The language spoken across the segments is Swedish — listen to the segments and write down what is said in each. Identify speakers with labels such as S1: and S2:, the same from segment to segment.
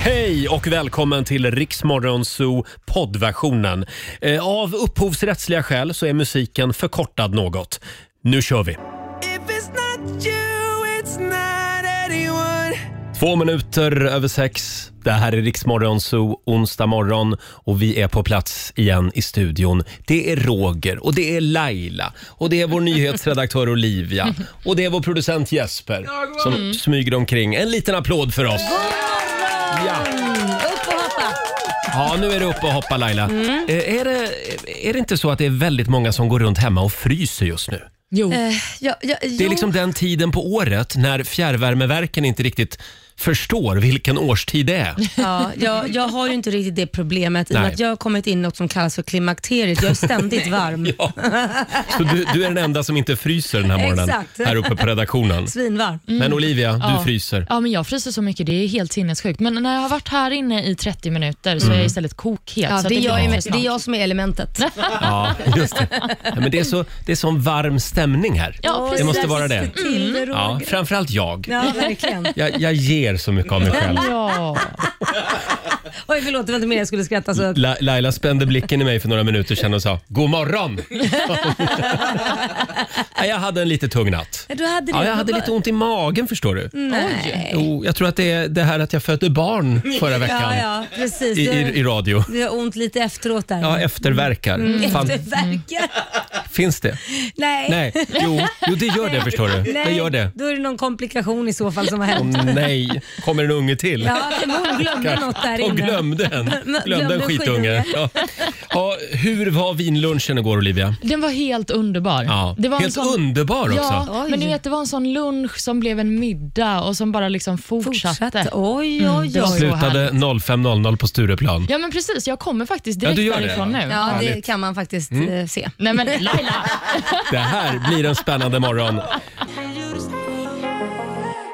S1: Hej och välkommen till Riksmorgon Zoo poddversionen. Eh, Av upphovsrättsliga skäl så är musiken förkortad något. Nu kör vi! Två minuter över sex. Det här är Riksmorgon Zoo, onsdag morgon och vi är på plats igen i studion. Det är Roger och det är Laila och det är vår nyhetsredaktör Olivia och det är vår producent Jesper som smyger omkring. En liten applåd för oss!
S2: Upp och hoppa! Mm.
S1: Ja, nu är det upp och hoppa Laila. Eh, Är, det, är det inte så att det är väldigt många som går runt hemma och fryser just nu?
S3: Jo.
S2: Eh, ja, ja,
S1: Det är
S2: jo.
S1: liksom den tiden på året när fjärrvärmeverken inte riktigt förstår vilken årstid det är.
S2: Ja, jag, jag har ju inte riktigt det problemet i och med
S1: Nej.
S2: att jag har kommit in i något som kallas för klimakteriet. Jag är ständigt varm.
S1: Ja. Så du, du är den enda som inte fryser den här morgonen
S2: Exakt. Mm.
S1: här uppe på redaktionen.
S2: Svinvarm.
S1: Men Olivia, du
S3: Ja.
S1: fryser.
S3: Ja, men jag fryser så mycket. Det är helt sinnessjukt. Men när jag har varit här inne i 30 minuter så är
S1: Mm.
S3: jag istället
S2: Ja,
S3: kokhet. så att
S2: det, är jag,
S3: blir
S2: med-
S3: intressant.
S2: det är jag som är elementet.
S1: Ja, just det. Ja, men det är så det är sån varm stämning här.
S3: Ja,
S1: Det
S3: precis.
S1: måste vara det.
S2: Till Roger.
S1: Ja, framförallt jag.
S2: Ja, verkligen.
S1: jag. Jag ger så mycket av mig själv.
S3: Ja.
S2: Oj, förlåt, det var inte mer jag skulle skratta så.
S1: La Laila spände blicken i mig för några minuter sedan och sa God morgon! Nej, jag hade en lite tung natt.
S2: Du hade det.
S1: Ja, jag hade lite ont i magen förstår du.
S2: Mm. Nej.
S1: Jo, jag tror att det är det här att jag födde barn förra
S2: Ja,
S1: veckan
S2: ja, precis.
S1: i, i, i radio.
S2: Du har ont lite efteråt där.
S1: Ja, efterverkar.
S2: Mm.
S1: Fan,
S2: Eftervärkar.
S1: finns det?
S2: Nej.
S1: Nej, jo, jo det gör det förstår du.
S2: Nej,
S1: Det gör det.
S2: Då är det någon komplikation i så fall som har
S1: Åh,
S2: hänt.
S1: nej, kommer en unge till?
S2: Ja, hon glömde
S1: Kanske.
S2: något där
S1: Och
S2: inne.
S1: glömde en. Glömde en
S2: en
S1: skitunge.
S2: skitunge.
S1: Ja. Ja, hur var vinlunchen igår Olivia?
S3: Den var helt underbar.
S1: Ja.
S3: Det var en
S1: Helt underbar också.
S3: Ja,
S2: Oj.
S3: men du vet, det var en sån lunch som blev en middag och som bara liksom fortsatte.
S2: Fortsatte. Oj,
S1: Mm,
S2: oj,
S3: det var
S2: oj.
S3: så
S1: Slutade
S3: härligt.
S1: 05.00 på Stureplan.
S3: Ja, men precis. Jag kommer faktiskt
S1: Ja,
S3: direkt
S1: du gör det,
S3: därifrån
S1: ja.
S3: nu.
S2: Ja, det
S1: Härligt. Mm.
S2: kan man faktiskt eh, se.
S3: Nej, men Laila.
S1: Det här blir en spännande morgon.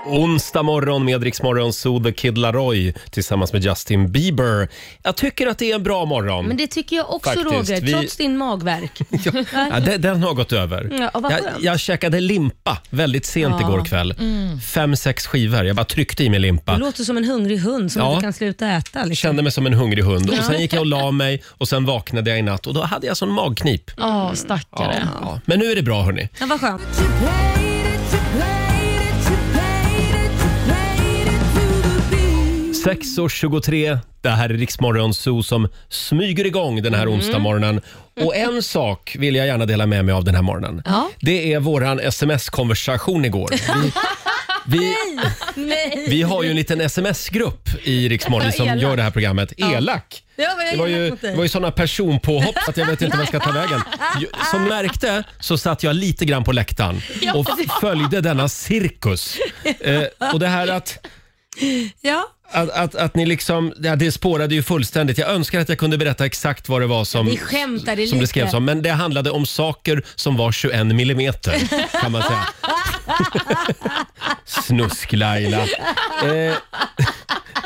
S1: Onsdag morgon med Rix Morgon Zoo, The Kid Laroi tillsammans med Justin Bieber. Jag tycker att det är en bra morgon.
S2: Men det tycker jag också
S1: Faktiskt,
S2: Roger,
S1: vi-
S2: trots din magvärk.
S1: Ja, den, den har gått över.
S2: Ja, och vad
S1: jag,
S2: skönt.
S1: jag käkade limpa väldigt sent
S2: Ja. Mm.
S1: igår kväll. Fem, sex skivor. Jag bara tryckte i mig limpa.
S2: Du låter som en hungrig hund som
S1: Ja.
S2: inte kan sluta äta. Liksom.
S1: Kände mig som en hungrig hund. Och Sen gick jag och la mig och sen vaknade jag i natt och då hade jag sån magknip.
S3: Ja,
S1: Ja.
S3: stackare.
S1: Ja. Men nu är det bra hörni.
S2: Ja, vad skönt.
S1: Sex och 23. Det här är Riksmorgon Zoo som smyger igång den här mm. onsdagsmorgonen. Och en sak vill jag gärna dela med mig av den här morgonen.
S3: Ja.
S1: Det är våran sms-konversation igår. Vi, vi,
S2: Nej.
S1: vi har ju en liten sms-grupp i Riksmorgon som
S3: Elak.
S1: gör det här programmet. Elak!
S2: Ja, vad jag
S1: Det var
S2: elak
S1: ju,
S2: mot dig.
S1: det var ju sådana personpåhopp att jag vet inte vad jag ska ta vägen. Ju- Som märkte så satt jag lite grann på läktaren och följde denna cirkus. Eh, och det här att
S2: Ja.
S1: att, att, att ni liksom, ja, det spårade ju fullständigt. Jag önskar att jag kunde berätta exakt vad det var som,
S2: Vi skämtade
S1: som det
S2: lite.
S1: skrevs om. Men det handlade om saker som var 21 millimeter kan man säga. Snusk-Laila. Eh,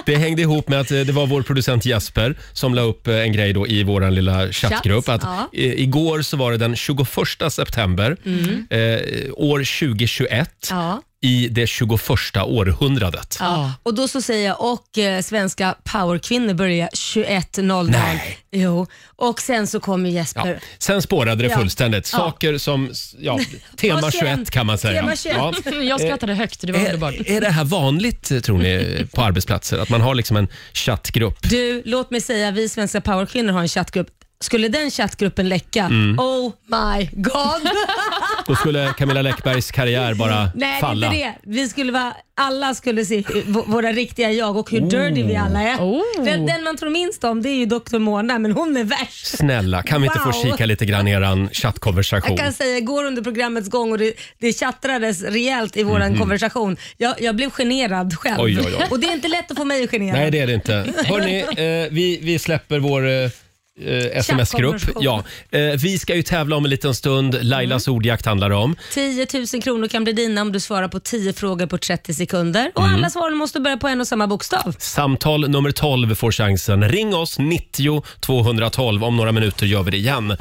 S1: det hängde ihop med att eh, det var vår producent Jesper som la upp eh, en grej då i vår lilla chattgrupp.
S2: Chatt,
S1: Att
S2: ja.
S1: eh, igår så var det den 21 september eh, år 2021
S2: Mm. Ja.
S1: i det 21 århundradet.
S2: Ja. Och då så säger jag och eh, svenska powerkvinnor börjar 21.00.
S1: Nej.
S2: Jo. Och sen så kommer Jesper.
S1: Ja. Sen spårade det
S2: Ja.
S1: fullständigt.
S2: Ja.
S1: Saker som, ja, tema
S2: Vad
S1: 21
S2: känt.
S1: kan man säga.
S2: Tema 21.
S1: Ja. Eh,
S3: Jag skrattade högt. Det var underbart.
S1: Är, är det här vanligt tror ni på arbetsplatser? Att man har liksom en chattgrupp?
S2: Du, låt mig säga, vi svenska powerkvinnor har en chattgrupp. Skulle den chattgruppen läcka,
S1: Mm.
S2: oh my god.
S1: Då skulle Camilla Läckbergs karriär bara
S2: Nej, det
S1: falla.
S2: är inte det. Vi skulle vara, alla skulle se v- våra riktiga jag och
S1: Oh.
S2: hur dirty vi alla är.
S3: Oh.
S2: Den, den man tror minst om det är ju Dr. Mona, men hon är värst.
S1: Snälla, kan vi inte få
S2: Wow.
S1: kika lite grann i eran
S2: Jag
S1: chattkonversation?
S2: kan säga igår under programmets gång och det, det chattrades rejält i vår konversation. Jag, jag blev generad själv.
S1: Mhm. Oj, oj, oj.
S2: Och det är inte lätt att få mig generad.
S1: Nej, det är det inte. Hörni, eh, vi, vi släpper vår eh, eh, sms-grupp. Ja,
S2: Chattkonversation. Mm.
S1: eh, vi ska ju tävla om en liten stund. Lailas ordjakt handlar det om.
S2: 10 000 kronor kan bli dina om du svarar på 10 frågor på 30 sekunder.
S1: Mhm.
S2: Och alla svaren måste börja på en och samma bokstav.
S1: Samtal nummer 12 får chansen. Ring oss 90 212. Om några minuter gör vi det igen.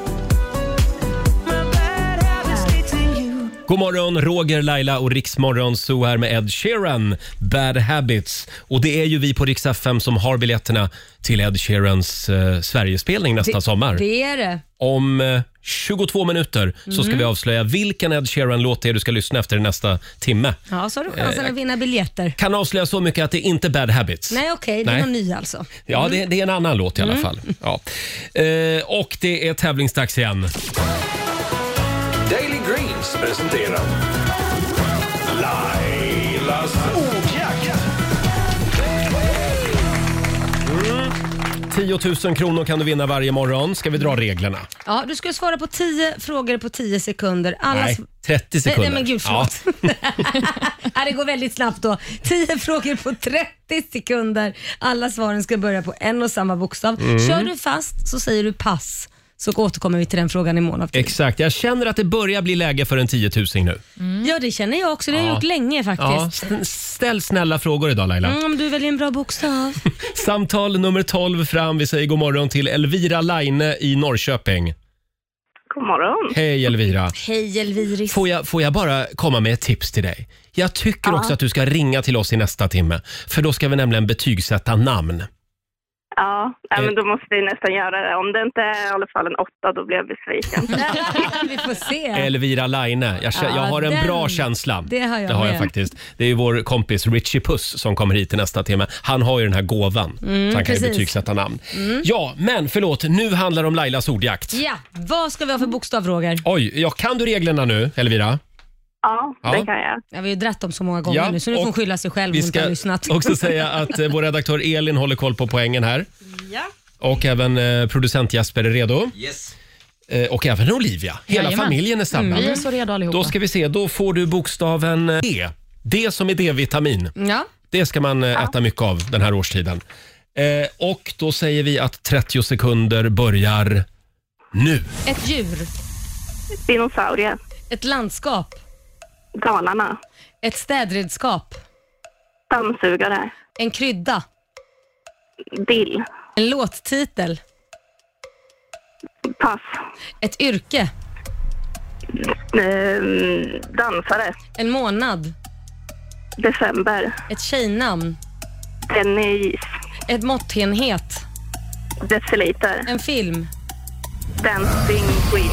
S1: God morgon, Roger, Laila och Riksmorgon Zoo här med Ed Sheeran, Bad Habits. Och det är ju vi på Rix FM som har biljetterna till Ed Sheerans eh, Sverigespelning nästa sommar.
S2: Det är det.
S1: Om eh, 22 minuter så
S2: Mm.
S1: ska vi avslöja vilken Ed Sheeran-låt det är du ska lyssna efter i nästa timme.
S2: Ja, så har du chansen
S1: Eh,
S2: att vinna biljetter.
S1: Kan avslöja så mycket att det är inte är Bad Habits.
S2: Nej, okej. det
S1: Nej.
S2: är någon ny alltså.
S1: Ja, det, det är en annan låt i
S2: Mm.
S1: alla fall. Ja. Eh, och det är tävlingsdags igen.
S4: Daily Greens presenterar Lailas ordjakt.
S1: 10 000 kronor kan du vinna varje morgon. Ska vi dra reglerna?
S2: Ja, du ska svara på 10 frågor på 10 sekunder. Alla
S1: Nej,
S2: sv-
S1: 30
S2: Nej,
S1: sekunder.
S2: Nej, men gud, förlåt. Ja. det går väldigt snabbt då. 10 frågor på 30 sekunder. Alla svaren ska börja på en och samma bokstav.
S1: Mm.
S2: Kör du fast så säger du pass, så återkommer vi till den frågan imorgon.
S1: Ja,
S2: Efter.
S1: exakt. Jag känner att det börjar bli läge för en 10 000 nu.
S2: Ja, det känner jag också. Det har jag
S1: Ja.
S2: gjort länge
S1: Ja,
S2: faktiskt.
S1: s- ställ snälla frågor idag Laila.
S2: Mm, om du väljer en bra bokstav.
S1: Samtal nummer 12 fram. Vi säger god morgon till Elvira Laine i Norrköping.
S5: God morgon.
S1: Hej Elvira.
S2: Hej Elviris.
S1: Får jag, får jag bara komma med ett tips till dig? Jag tycker också att du ska ringa till oss i nästa timme. För då ska vi nämligen betygsätta namn.
S5: Ja, nej,
S4: Eh.
S5: men då måste vi nästan göra det. Om det inte är i alla fall en åtta, då blir jag besviken.
S2: vi får se.
S1: Elvira Laine. Jag, kä-
S2: Ja,
S1: jag har en
S2: den-
S1: bra känsla.
S2: det har jag
S1: det har jag
S2: med.
S1: faktiskt. Det är ju vår kompis Richie Puss som kommer hit i nästa timme. Han har ju den här gåvan. så han kan ju
S2: Mm, precis. Mm.
S1: betygsätta namn. Ja, men förlåt. Nu handlar det om Lailas ordjakt.
S2: Ja, vad ska vi ha för bokstav Roger?
S1: Oj, jag kan du reglerna nu, Elvira?
S5: Ja,
S1: Ja.
S5: det kan jag.
S2: Ja, vi har ju dratt dem så många gånger
S1: Ja,
S2: nu så nu
S1: och
S2: får hon skylla sig själv om
S1: Vi
S2: hon inte har
S1: ska
S2: lyssnat.
S1: också säga att eh, vår redaktör Elin håller koll på poängen här. Och även eh, producent Jesper är redo.
S6: Yes.
S1: Eh, och även Olivia. Hela
S3: Jajamän.
S1: familjen är
S2: Mm,
S1: samlad.
S3: Vi är så redo allihopa.
S1: Då ska vi se, då får du bokstaven eh, D. D som är D-vitamin.
S2: Ja.
S1: Det ska man eh, äta mycket av den här årstiden. Eh, och då säger vi att 30 sekunder börjar nu.
S2: Ett djur,
S5: Dinosaurie.
S2: ett landskap,
S5: Dalarna.
S2: ett städredskap,
S5: Dammsugare.
S2: en krydda,
S5: Dill.
S2: en låttitel,
S5: Pass.
S2: ett yrke,
S5: Ehm, dansare.
S2: en månad,
S5: December.
S2: ett tjejnamn,
S5: Dennis.
S2: ett måttenhet,
S5: Deciliter.
S2: en film. Mm,
S5: Dancing Queen.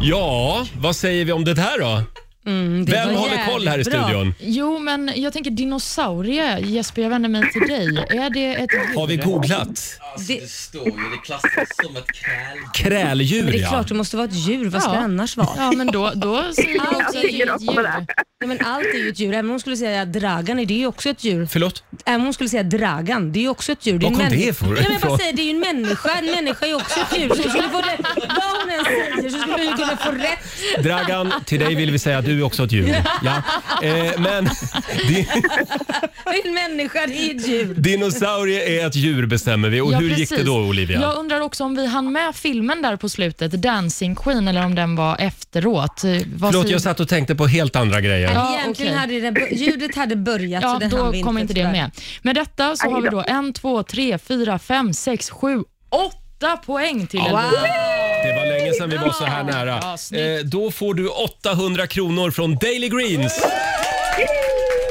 S1: Ja, vad säger vi om det här då? Vem
S2: var
S1: håller koll här i
S2: jävligt bra.
S1: studion?
S3: Jo, men jag tänker dinosaurie. Jesper, jag vänder mig till dig. Är det ett djur?
S1: Har vi googlat?
S6: Alltså, det...
S2: Det-
S6: står ju, det klassas som ett kräl.
S1: Kräldjur
S2: Men det är
S1: ja.
S2: klart, det måste vara ett djur. Vad ska
S3: Ja.
S2: det annars vara?
S3: Ja, men då, då säger jag också att det är ett djur.
S2: Ja, men allt är ju ett djur. Även om hon skulle säga dragan, är det är ju också ett djur.
S1: Förlåt?
S2: Även om hon skulle säga dragan, det är ju också ett djur. Det
S1: Var
S2: är en
S1: kom
S2: människa.
S1: det ifrån?
S2: Nej, men jag bara säger, det är ju en människa. En människa är ju också ett djur. Så skulle få det, vad hon än säger så skulle hon ju kunna få rätt.
S1: Dragan, till dig vill vi säga att du är också ett djur. Ja. Eh, men di-
S2: Det är en människa, det är ett djur.
S1: dinosaurie är ett djur bestämmer vi. Och
S3: Ja,
S1: hur gick
S3: precis.
S1: det då Olivia?
S3: Jag undrar också om vi hann med filmen där på slutet, Dancing Queen, eller om den var efteråt. Eh, Vad
S1: Förlåt,
S3: säger-
S1: jag satt och tänkte på helt andra grejer.
S3: Ja,
S2: Egentligen
S3: okej.
S2: hade det, bör- ljudet hade börjat så
S3: Ja,
S2: det Alltså, hann vi
S3: då kommer inte det
S2: tyvärr.
S3: med. Med detta så har vi då en, två, tre, fyra, fem, sex, sju, åtta poäng till
S2: Wow!
S3: Elvira.
S1: Det var länge sedan vi var så här nära.
S3: Ja, snyggt.
S1: Eh, då får du 800 kronor från Daily Greens.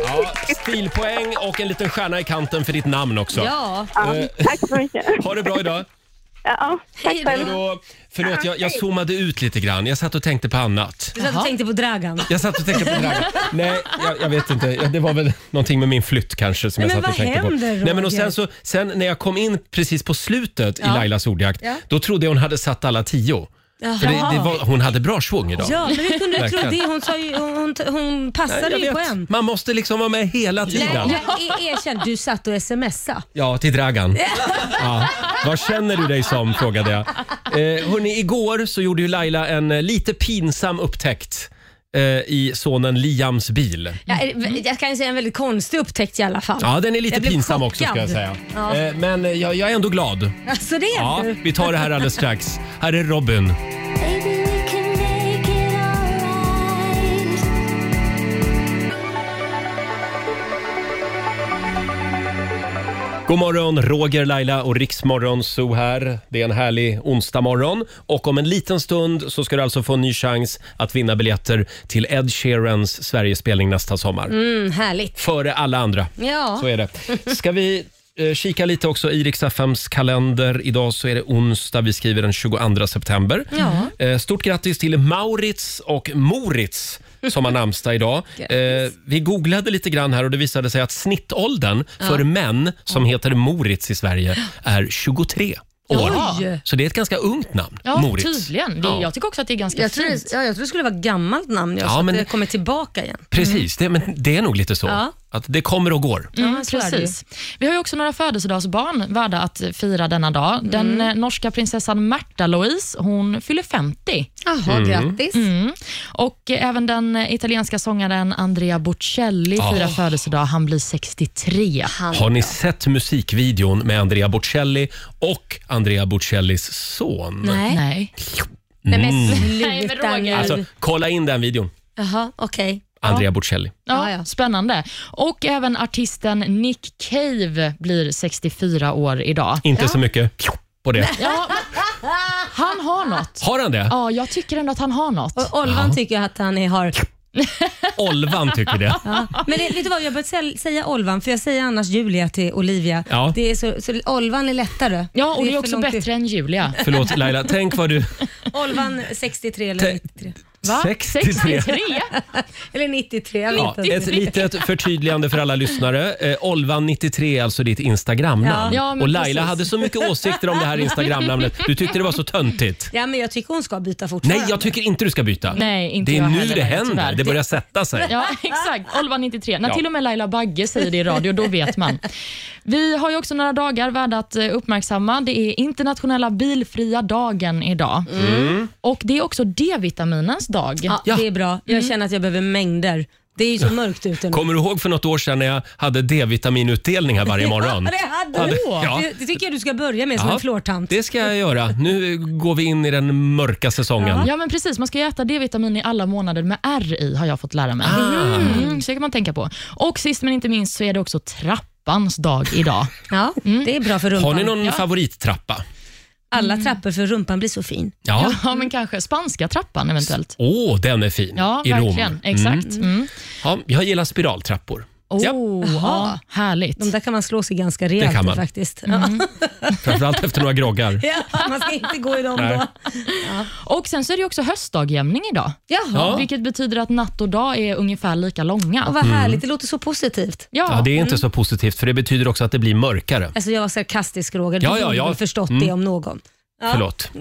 S1: Ja, stilpoäng och en liten stjärna i kanten för ditt namn också.
S2: Ja,
S5: Ja, tack så mycket.
S1: Ha det bra idag.
S5: Ja, tack
S2: Hej då.
S5: själv.
S1: Då, förlåt, jag, jag zoomade ut lite grann. Jag satt och tänkte på annat.
S2: du satt och tänkte på Dragan.
S1: Jag satt och tänkte på Dragan. Nej, jag, jag vet inte. Ja, Det var väl någonting med min flytt kanske som
S2: Nej,
S1: jag satt
S2: men
S1: och
S2: vad
S1: tänkte på.
S2: händer,
S1: Nej, men och
S2: Roger?
S1: sen, så, sen när jag kom in precis på slutet i Lailas ordjakt,
S2: Ja.
S1: då trodde jag hon hade satt alla tio. För det, det var, hon hade bra svung idag.
S2: Ja, men hur kunde du tro
S1: Verkligen.
S2: det? Hon, sa ju, hon, hon, hon
S1: Jag
S2: passade ju
S1: vet.
S2: på en.
S1: Man måste liksom vara med hela
S2: Nej,
S1: tiden.
S2: jag er- erkänn, du satt och smsade.
S1: Ja, till Dragan. Ja. Vad känner du dig som? frågade jag. Eh, hörni, igår så gjorde ju Laila en eh, lite pinsam upptäckt eh, i sonen Liams bil.
S2: Ja, är- jag kan ju säga en väldigt konstig upptäckt i alla fall.
S1: Ja, den är lite
S2: Jag blev
S1: pinsam också ska
S2: chockad.
S1: jag säga.
S2: Ja.
S1: Eh, men eh, jag, jag är ändå glad.
S2: Alltså det är
S1: Ja,
S2: du.
S1: vi tar det här alldeles strax. Här är Robin. God morgon, Roger, Laila och Riksmorgon Zoo här. Det är en härlig onsdagmorgon och om en liten stund så ska du alltså få en ny chans att vinna biljetter till Ed Sheerans Sverigespelning nästa sommar.
S2: Mm, härligt.
S1: Före alla andra.
S2: Ja.
S1: Så är det. Ska vi eh, kika lite också i Rix FMs kalender. Idag så är det onsdag, vi skriver den 22 september.
S2: Ja.
S1: Eh, Stort grattis till Maurits och Moritz som har namnsdag idag.
S2: Grattis.
S1: Eh, vi googlade lite grann här och det visade sig att snittåldern för män som heter Moritz i Sverige är 23 år.
S2: Oj.
S1: Så det är ett ganska ungt namn,
S3: Ja,
S1: Moritz.
S3: tydligen. Det,
S1: Ja.
S3: Jag tycker också att det är ganska
S2: Jag tror,
S3: fint.
S2: det, ja, jag tror det skulle vara ett gammalt namn, jag,
S1: Ja,
S2: så
S1: men-
S2: att det kommer tillbaka igen.
S1: Precis, det, men det är nog lite så.
S2: Ja.
S1: Att det kommer och går.
S2: Ja,
S3: Mm,
S2: men så är det ju.
S3: precis. Vi har ju också några födelsedagsbarn värda att fira denna dag. Den
S2: Mm.
S3: eh, norska prinsessan Märta Louise, hon fyller 50.
S2: Jaha, grattis.
S3: Mm. Och eh, även den eh, italienska sångaren Andrea Bocelli firar
S1: Ah.
S3: födelsedag. Han blir 63.
S2: Han,
S1: Har ni sett musikvideon med Andrea Bocelli och Andrea Bocellis son? Mm.
S2: Nej. Nej.
S3: Nej.
S2: men
S3: Nej, men
S2: sluta
S3: Roger.
S2: nu.
S1: Alltså, kolla in den videon.
S2: Jaha, okej.
S1: Andrea Bocelli.
S3: Ja,
S2: Ja, ja.
S3: Spännande. Och även artisten Nick Cave blir 64 år idag.
S1: Inte så mycket på det.
S3: Ja, men, han har något.
S1: Har han det?
S3: Ja, jag tycker ändå att han har något.
S2: Och Olvan tycker att han är har...
S1: Olvan tycker det.
S2: Men det, vet du vad, jag har börjat sä- säga Olvan för jag säger annars Julia till Olivia.
S1: Ja.
S2: Det är så, så Olvan är lättare.
S3: Ja, och det är
S2: för
S3: också
S2: långt
S3: bättre än Julia.
S1: Förlåt Laila, tänk vad du...
S2: till- Olvan 63 eller
S1: Tänk-
S2: 93.
S3: Va?
S1: 63.
S3: 63?
S2: Eller 93, jag
S1: Ja,
S2: vet inte.
S1: ett litet förtydligande för alla lyssnare. Eh, Olvan 93 är alltså ditt Instagramnamn.
S3: Ja. Ja, men
S1: och Laila
S3: precis.
S1: hade så mycket åsikter om det här Instagramnamnet. Du tyckte det var så töntigt.
S2: Ja, men jag tycker hon ska byta fortfarande.
S1: Nej, jag tycker inte du ska byta.
S3: Nej, inte
S1: det är
S3: jag
S1: nu
S3: heller,
S1: det händer.
S3: tyvärr.
S1: Det börjar sätta sig.
S3: Ja, exakt. Olva 93. När
S1: Ja.
S3: till och med Laila Bagge säger det i radio, då vet man. Vi har ju också några dagar värda att eh, uppmärksamma. Det är internationella bilfria dagen idag.
S1: Mm.
S3: Och Det är också D-vitaminens dag.
S2: Ja,
S1: Ja.
S2: Det är bra. Jag
S3: Mm.
S2: känner att jag behöver mängder. Det är ju så mörkt ute nu.
S1: Kommer du ihåg för något år sedan när jag hade D-vitaminutdelning här varje morgon?
S2: Ja, det hade du.
S1: Ja.
S2: Det, det tycker jag du ska börja med som
S1: Ja,
S2: en flårtant.
S1: Det ska jag göra. Nu går vi in i den mörka säsongen.
S3: Ja, men precis. Man ska ju äta D-vitamin i alla månader med R i, har jag fått lära mig.
S1: Ah.
S3: Mm, så det kan man tänka på. Och Sist men inte minst så är det också trappans dag idag.
S2: Ja, det är bra för rumpan.
S1: Har ni någon favorittrappa?
S2: Alla trappor för rumpan blir så fin.
S1: Ja.
S3: Ja, men kanske spanska trappan eventuellt.
S1: Åh, den är fin.
S3: Ja,
S1: I
S3: verkligen.
S1: Rom.
S3: Exakt. Mm.
S1: Ja, jag gillar spiraltrappor. Ja,
S3: Oh, ja,
S2: Jaha.
S3: härligt.
S2: De där kan man slå sig ganska rejält
S1: kan man.
S2: faktiskt.
S1: framförallt efter några groggar.
S2: Ja, man ska inte gå i dem
S1: Nej.
S2: då.
S3: Och Sen så är det ju också höstdagjämning idag.
S2: Jaha,
S1: Ja.
S3: Vilket betyder att natt och dag är ungefär lika långa.
S2: och vad
S1: Mm.
S2: härligt. Det låter så positivt.
S1: Ja, det är inte så positivt för det betyder också att det blir mörkare.
S2: Alltså jag var sarkastisk Roger. Du
S1: Ja, ja,
S2: borde
S1: ja. Mm.
S2: väl förstått det om någon. Ja.
S1: Förlåt.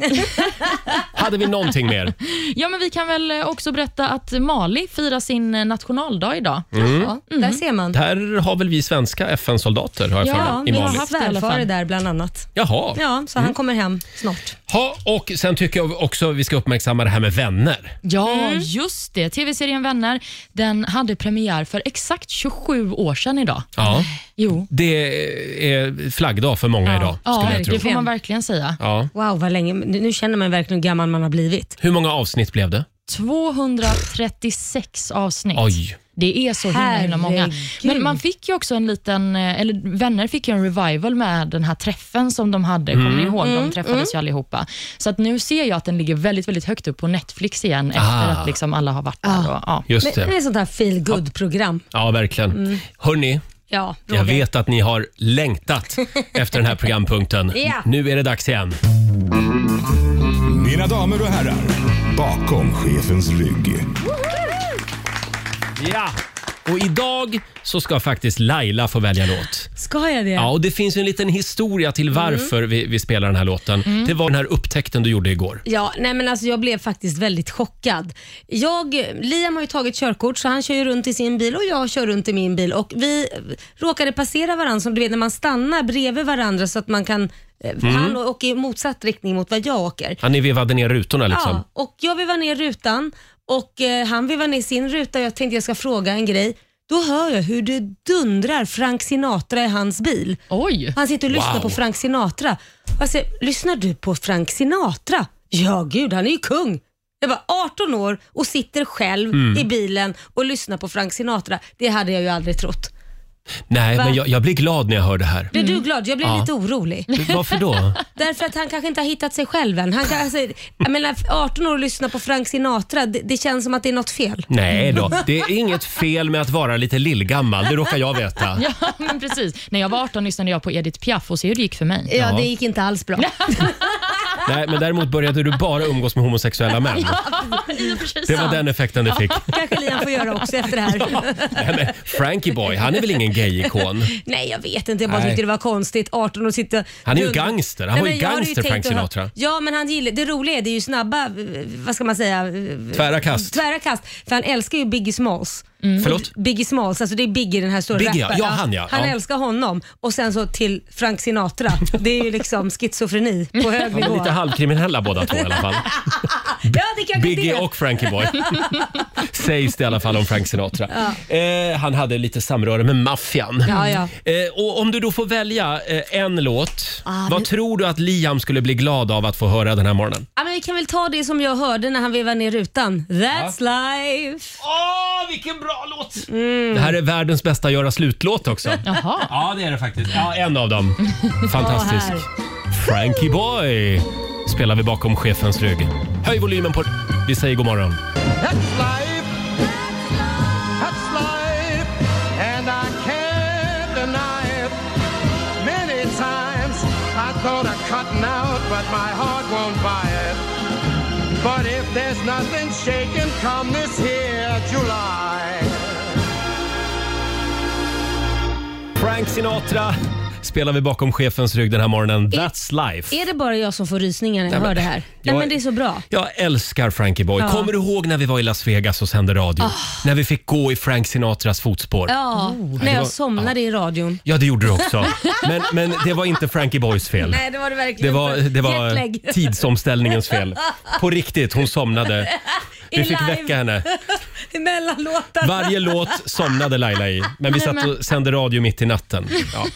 S1: Hade vi någonting mer?
S3: ja, men vi kan väl också berätta att Mali firar sin eh, nationaldag idag.
S1: Mm.
S2: Ja, Där ser man.
S1: Där har väl vi svenska FN-soldater har jag för
S3: Ja,
S1: mig, i
S2: min
S3: vi har
S1: Mali.
S3: haft- i alla
S2: svärfar är
S3: fall.
S2: där bland annat.
S1: Jaha.
S2: Ja, så
S1: Mm.
S2: han kommer hem snart.
S1: Ha, och sen tycker jag också vi ska uppmärksamma det här med vänner.
S3: Ja, just det. TV-serien Vänner den hade premiär för exakt 27 år sedan idag.
S1: Ja.
S3: Jo.
S1: Det är flaggdag för många idag, skulle jag
S3: det
S1: tro.
S3: får man verkligen säga.
S1: Ja.
S2: Wow, vad länge. Nu nu känner man verkligen hur gammal man har blivit.
S1: Hur många avsnitt blev det?
S3: 236 avsnitt.
S1: Oj.
S3: Det är så himla, himla många.
S2: Herregud.
S3: Men man fick ju också en liten, eh, eller vänner fick ju en revival med den här träffen som de hade. Kommer ni ihåg? De träffades ju allihopa. Så att nu ser jag att den ligger väldigt, väldigt högt upp på Netflix igen efter
S1: Ah.
S3: att liksom alla har varit där. Och, ja.
S1: Just
S2: Men det är
S1: det.
S2: ett sånt här feel good program
S1: Ja, verkligen. Hörni,
S2: Ja, Roger.
S1: jag vet att ni har längtat efter den här programpunkten.
S2: Ja.
S1: Nu är det dags igen.
S4: Mina damer och herrar, bakom chefens rygg.
S1: Ja! Och idag så ska faktiskt Laila få välja låt.
S2: Ska jag det?
S1: Ja, och det finns ju en liten historia till
S2: Mm.
S1: varför vi, vi spelar den här låten. Det var den här upptäckten du gjorde igår.
S2: Ja, nej men alltså jag blev faktiskt väldigt chockad. Jag, Liam har ju tagit körkort så han kör ju runt i sin bil och jag kör runt i min bil och vi råkade passera varandra som du vet när man stannar bredvid varandra så att man kan, eh, han åker i motsatt riktning mot vad jag åker.
S1: Mm. Ja, ni vevade ner rutorna liksom.
S2: Ja, och jag vevar ner rutan och eh, han vevar ner sin ruta och jag tänkte jag ska fråga en grej. Då hör jag hur det dundrar Frank Sinatra i hans bil.
S3: Oj!
S2: Han sitter och lyssnar
S1: Wow.
S2: på Frank Sinatra. Och jag säger, lyssnar du på Frank Sinatra? Ja, gud, han är ju kung. Jag var 18 år
S1: Mm.
S2: och sitter själv i bilen och lyssnar på Frank Sinatra. Det hade jag ju aldrig trott.
S1: Nej,
S2: Va?
S1: men jag, jag blir glad när jag hör det här.
S2: Blir du glad? Jag blir
S1: Mm. Ja.
S2: lite orolig.
S1: Varför då?
S2: Därför att han kanske inte har hittat sig själv än. Han kan, alltså, jag menar, 18 år och lyssna på Frank Sinatra, det, det känns som att det är något fel.
S1: Nej då, det är inget fel med att vara lite lillgammal, det råkar jag veta.
S3: Ja, men precis. När jag var 18 lyssnade jag på Edith Piaf och se hur det gick för mig.
S2: Ja,
S1: Ja.
S2: det gick inte alls bra.
S1: Nej, men däremot började du bara umgås med homosexuella män.
S3: I och för sig
S1: Det var
S3: sant.
S1: den effekten det fick.
S2: kanske Liam får göra också efter det här.
S1: Nej, men Frankie Boy, han är väl ingen gay-ikon?
S2: Nej, jag vet inte. Jag bara
S1: Nej.
S2: tyckte det var konstigt. 18 och sitta...
S1: Han är ju gangster. Han
S2: Nej,
S1: var ju
S2: men jag hade
S1: gangster,
S2: tänkt
S1: Frank
S2: att ha-
S1: Sinatra.
S2: Ja, men han gillar, det roliga är det är ju snabba, eh, vad ska man säga? eh,
S1: Tvära kast.
S2: Tvära kast. För han älskar ju Biggie Smalls.
S1: Förlåt?
S2: Biggie Smalls, alltså det är Biggie den här stora
S1: Biggie, ja.
S2: rapparen.
S1: Ja, han, ja.
S2: Han
S1: Ja.
S2: älskar honom. Och sen så till Frank Sinatra. Det är ju liksom schizofreni på hög
S1: Han
S2: nivå.
S1: är lite halvkriminella båda två i alla fall.
S2: Mm. ja, det kanske
S1: Biggie
S2: det.
S1: och Frankie Boy. Sägs det i alla fall om Frank Sinatra. Eh, han hade lite samröre med maffian.
S2: Ja, ja.
S1: Eh, och om du då får välja eh, en låt,
S2: Ah,
S1: vad
S2: nu-
S1: tror du att Liam skulle bli glad av att få höra den här morgonen?
S2: Ja, men vi kan väl ta det som jag hörde när han vevade ner rutan. That's life.
S1: Åh, vilken bra låt! Det här är världens bästa göra slut-låt också.
S3: Jaha.
S1: Ja, det är det faktiskt. Ja, en av dem. Fantastisk. Frankie Boy spelar vi bakom chefens rygg. Höj volymen på... Vi säger god morgon. Frank Sinatra spelar vi bakom chefens rygg den här morgonen. That's life.
S2: Är det bara jag som får rysningar när
S1: Nej,
S2: jag
S1: men-
S2: hör det här? Nej,
S1: jag-
S2: men det är så bra.
S1: Jag älskar Frankie Boy.
S2: Ja. Ah.
S1: Kommer du ihåg när vi var i Las Vegas och sände radio? När vi fick gå i Frank Sinatras fotspår. Ja,
S2: Ja, när
S1: Oh, det var-
S2: jag somnade i radion.
S1: det gjorde du också. Men, men det var inte Frankie Boys fel.
S2: Nej, det var det
S1: Det
S2: verkligen
S1: var,
S2: inte.
S1: det var
S2: Jetlag.
S1: tidsomställningens fel. På riktigt, hon somnade. Vi
S2: I
S1: fick
S2: live.
S1: väcka henne.
S2: Mellan låtarna.
S1: Varje låt somnade Laila i, men vi satt och sände radio mitt i natten. Ja.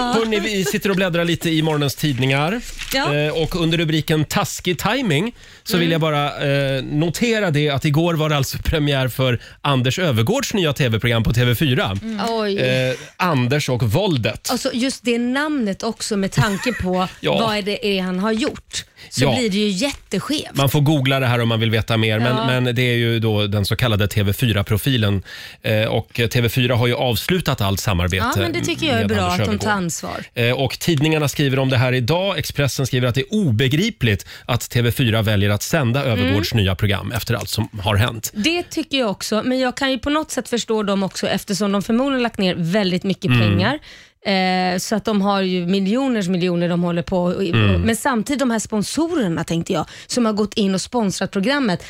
S1: Hörrni, vi sitter och bläddrar lite i morgonens tidningar.
S2: Ja. Mm.
S1: Eh, och under rubriken “Taskig timing så vill jag bara eh, notera det att igår var det alltså premiär för Anders Övergårds nya tv-program på TV4.
S2: Oj.
S1: Eh, Anders och våldet.
S2: Alltså just det namnet också med tanke på
S1: Ja.
S2: vad är det är han har gjort. Så
S1: Ja.
S2: blir det ju jätteskevt.
S1: Man får googla det här om man vill veta mer, men, men det är ju då den så kallade TV4-profilen. Eh, och TV4 har ju avslutat allt samarbete
S2: Ja, men det tycker jag är
S1: med
S2: bra
S1: Anders
S2: att de
S1: Öfvergård.
S2: tar ansvar.
S1: Eh, Och tidningarna skriver om det här idag. Expressen skriver att det är obegripligt att TV4 väljer att sända Övergårds
S2: Mm.
S1: nya program efter allt som har hänt.
S2: Det tycker jag också, men jag kan ju på något sätt förstå dem också eftersom de förmodligen lagt ner väldigt mycket pengar. Eh, så att de har ju miljoners miljoner de håller på och, Men samtidigt de här sponsorerna tänkte jag, som har gått in och sponsrat programmet.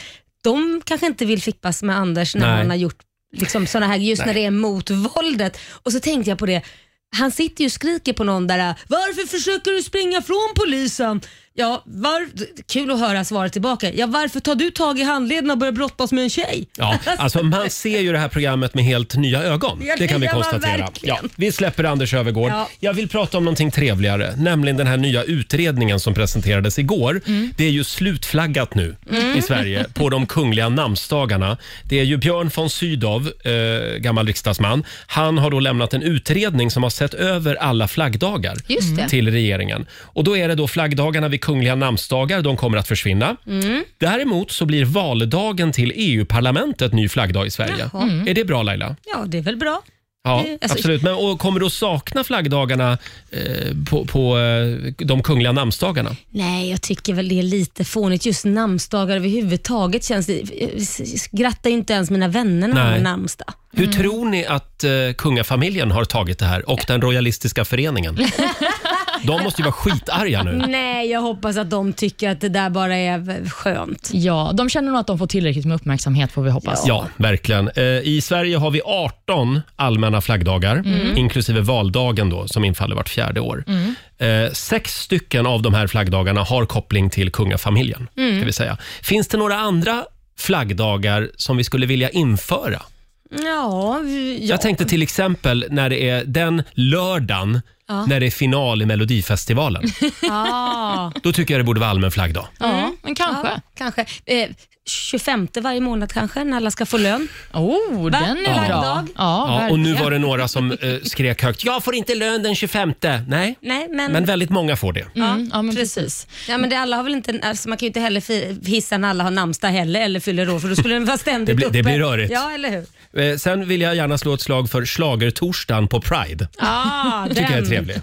S2: De kanske inte vill fippas med Anders när
S1: Nej.
S2: han har gjort liksom, sådana här, just när det är mot våldet. Och så tänkte jag på det, han sitter ju och skriker på någon där, varför försöker du springa från polisen? Ja, var... Kul att höra svaret tillbaka. Ja, varför tar du tag i handleden och börjar brottas med en tjej?
S1: Ja, alltså man ser ju det här programmet med helt nya ögon.
S2: Ja,
S1: Det kan vi
S2: det gör man
S1: konstatera.
S2: verkligen.
S1: Ja, vi släpper Anders Övergård.
S2: Ja.
S1: Jag vill prata om någonting trevligare, nämligen den här nya utredningen som presenterades igår.
S2: Mm.
S1: Det är ju slutflaggat nu i Sverige på de kungliga namnsdagarna. Det är ju Björn von Sydow, eh, gammal riksdagsman. Han har då lämnat en utredning som har sett över alla flaggdagar
S2: Just det.
S1: till regeringen. Och då är det då flaggdagarna vid kungliga namnsdagar, de kommer att försvinna. Däremot så blir valdagen till EU-parlamentet ny flaggdag i Sverige.
S2: Jaha.
S1: Är det bra Laila?
S2: Ja, det är väl bra.
S1: Ja,
S2: Det- alltså-
S1: absolut. Men, och kommer du att sakna flaggdagarna eh, på, på eh, de kungliga namnsdagarna?
S2: Nej, jag tycker väl det är lite fånigt. Just namnsdagar överhuvudtaget känns det... jag Grattar ju inte ens mina vänner när de
S1: Nej.
S2: har namnsdag.
S1: Hur tror ni att eh, kungafamiljen har tagit det här och den royalistiska föreningen? De måste ju vara skitarga nu.
S2: Nej, jag hoppas att de tycker att det där bara är skönt.
S3: Ja, de känner nog att de får tillräckligt med uppmärksamhet får vi hoppas.
S1: Ja, verkligen. Eh, I Sverige har vi 18 allmänna flaggdagar, inklusive valdagen då, som infaller vart fjärde år. Eh, sex stycken av de här flaggdagarna har koppling till kungafamiljen. Ska vi säga. Finns det några andra flaggdagar som vi skulle vilja införa?
S2: Ja, ja.
S1: Jag tänkte till exempel när det är den lördagen
S2: Ja.
S1: när det är final i Melodifestivalen.
S2: Ja,
S1: Då tycker jag det borde vara allmän flaggdag.
S3: Ja, men kanske.
S2: ja kanske. Eh, 25 varje månad kanske, när alla ska få lön.
S3: Oh, den är
S2: Ja.
S3: bra.
S2: Flaggdag.
S3: Ja,
S1: Ja, och nu
S3: verkligen.
S1: var det några som eh, skrek högt. Jag får inte lön den 25. Nej,
S2: Nej, men...
S1: men väldigt många får det.
S3: Mm, ja, men precis.
S2: Ja, men det alla har väl inte, alltså man kan ju inte heller fi- hissa när alla har namnsdag heller eller fyller år för då skulle den vara ständigt
S1: Det blir-
S2: uppe.
S1: det blir rörigt.
S2: Ja, eller hur?
S1: Eh, sen vill jag gärna slå ett slag för schlagertorsdagen på Pride.
S2: Ah,
S1: tycker jag är trevlig.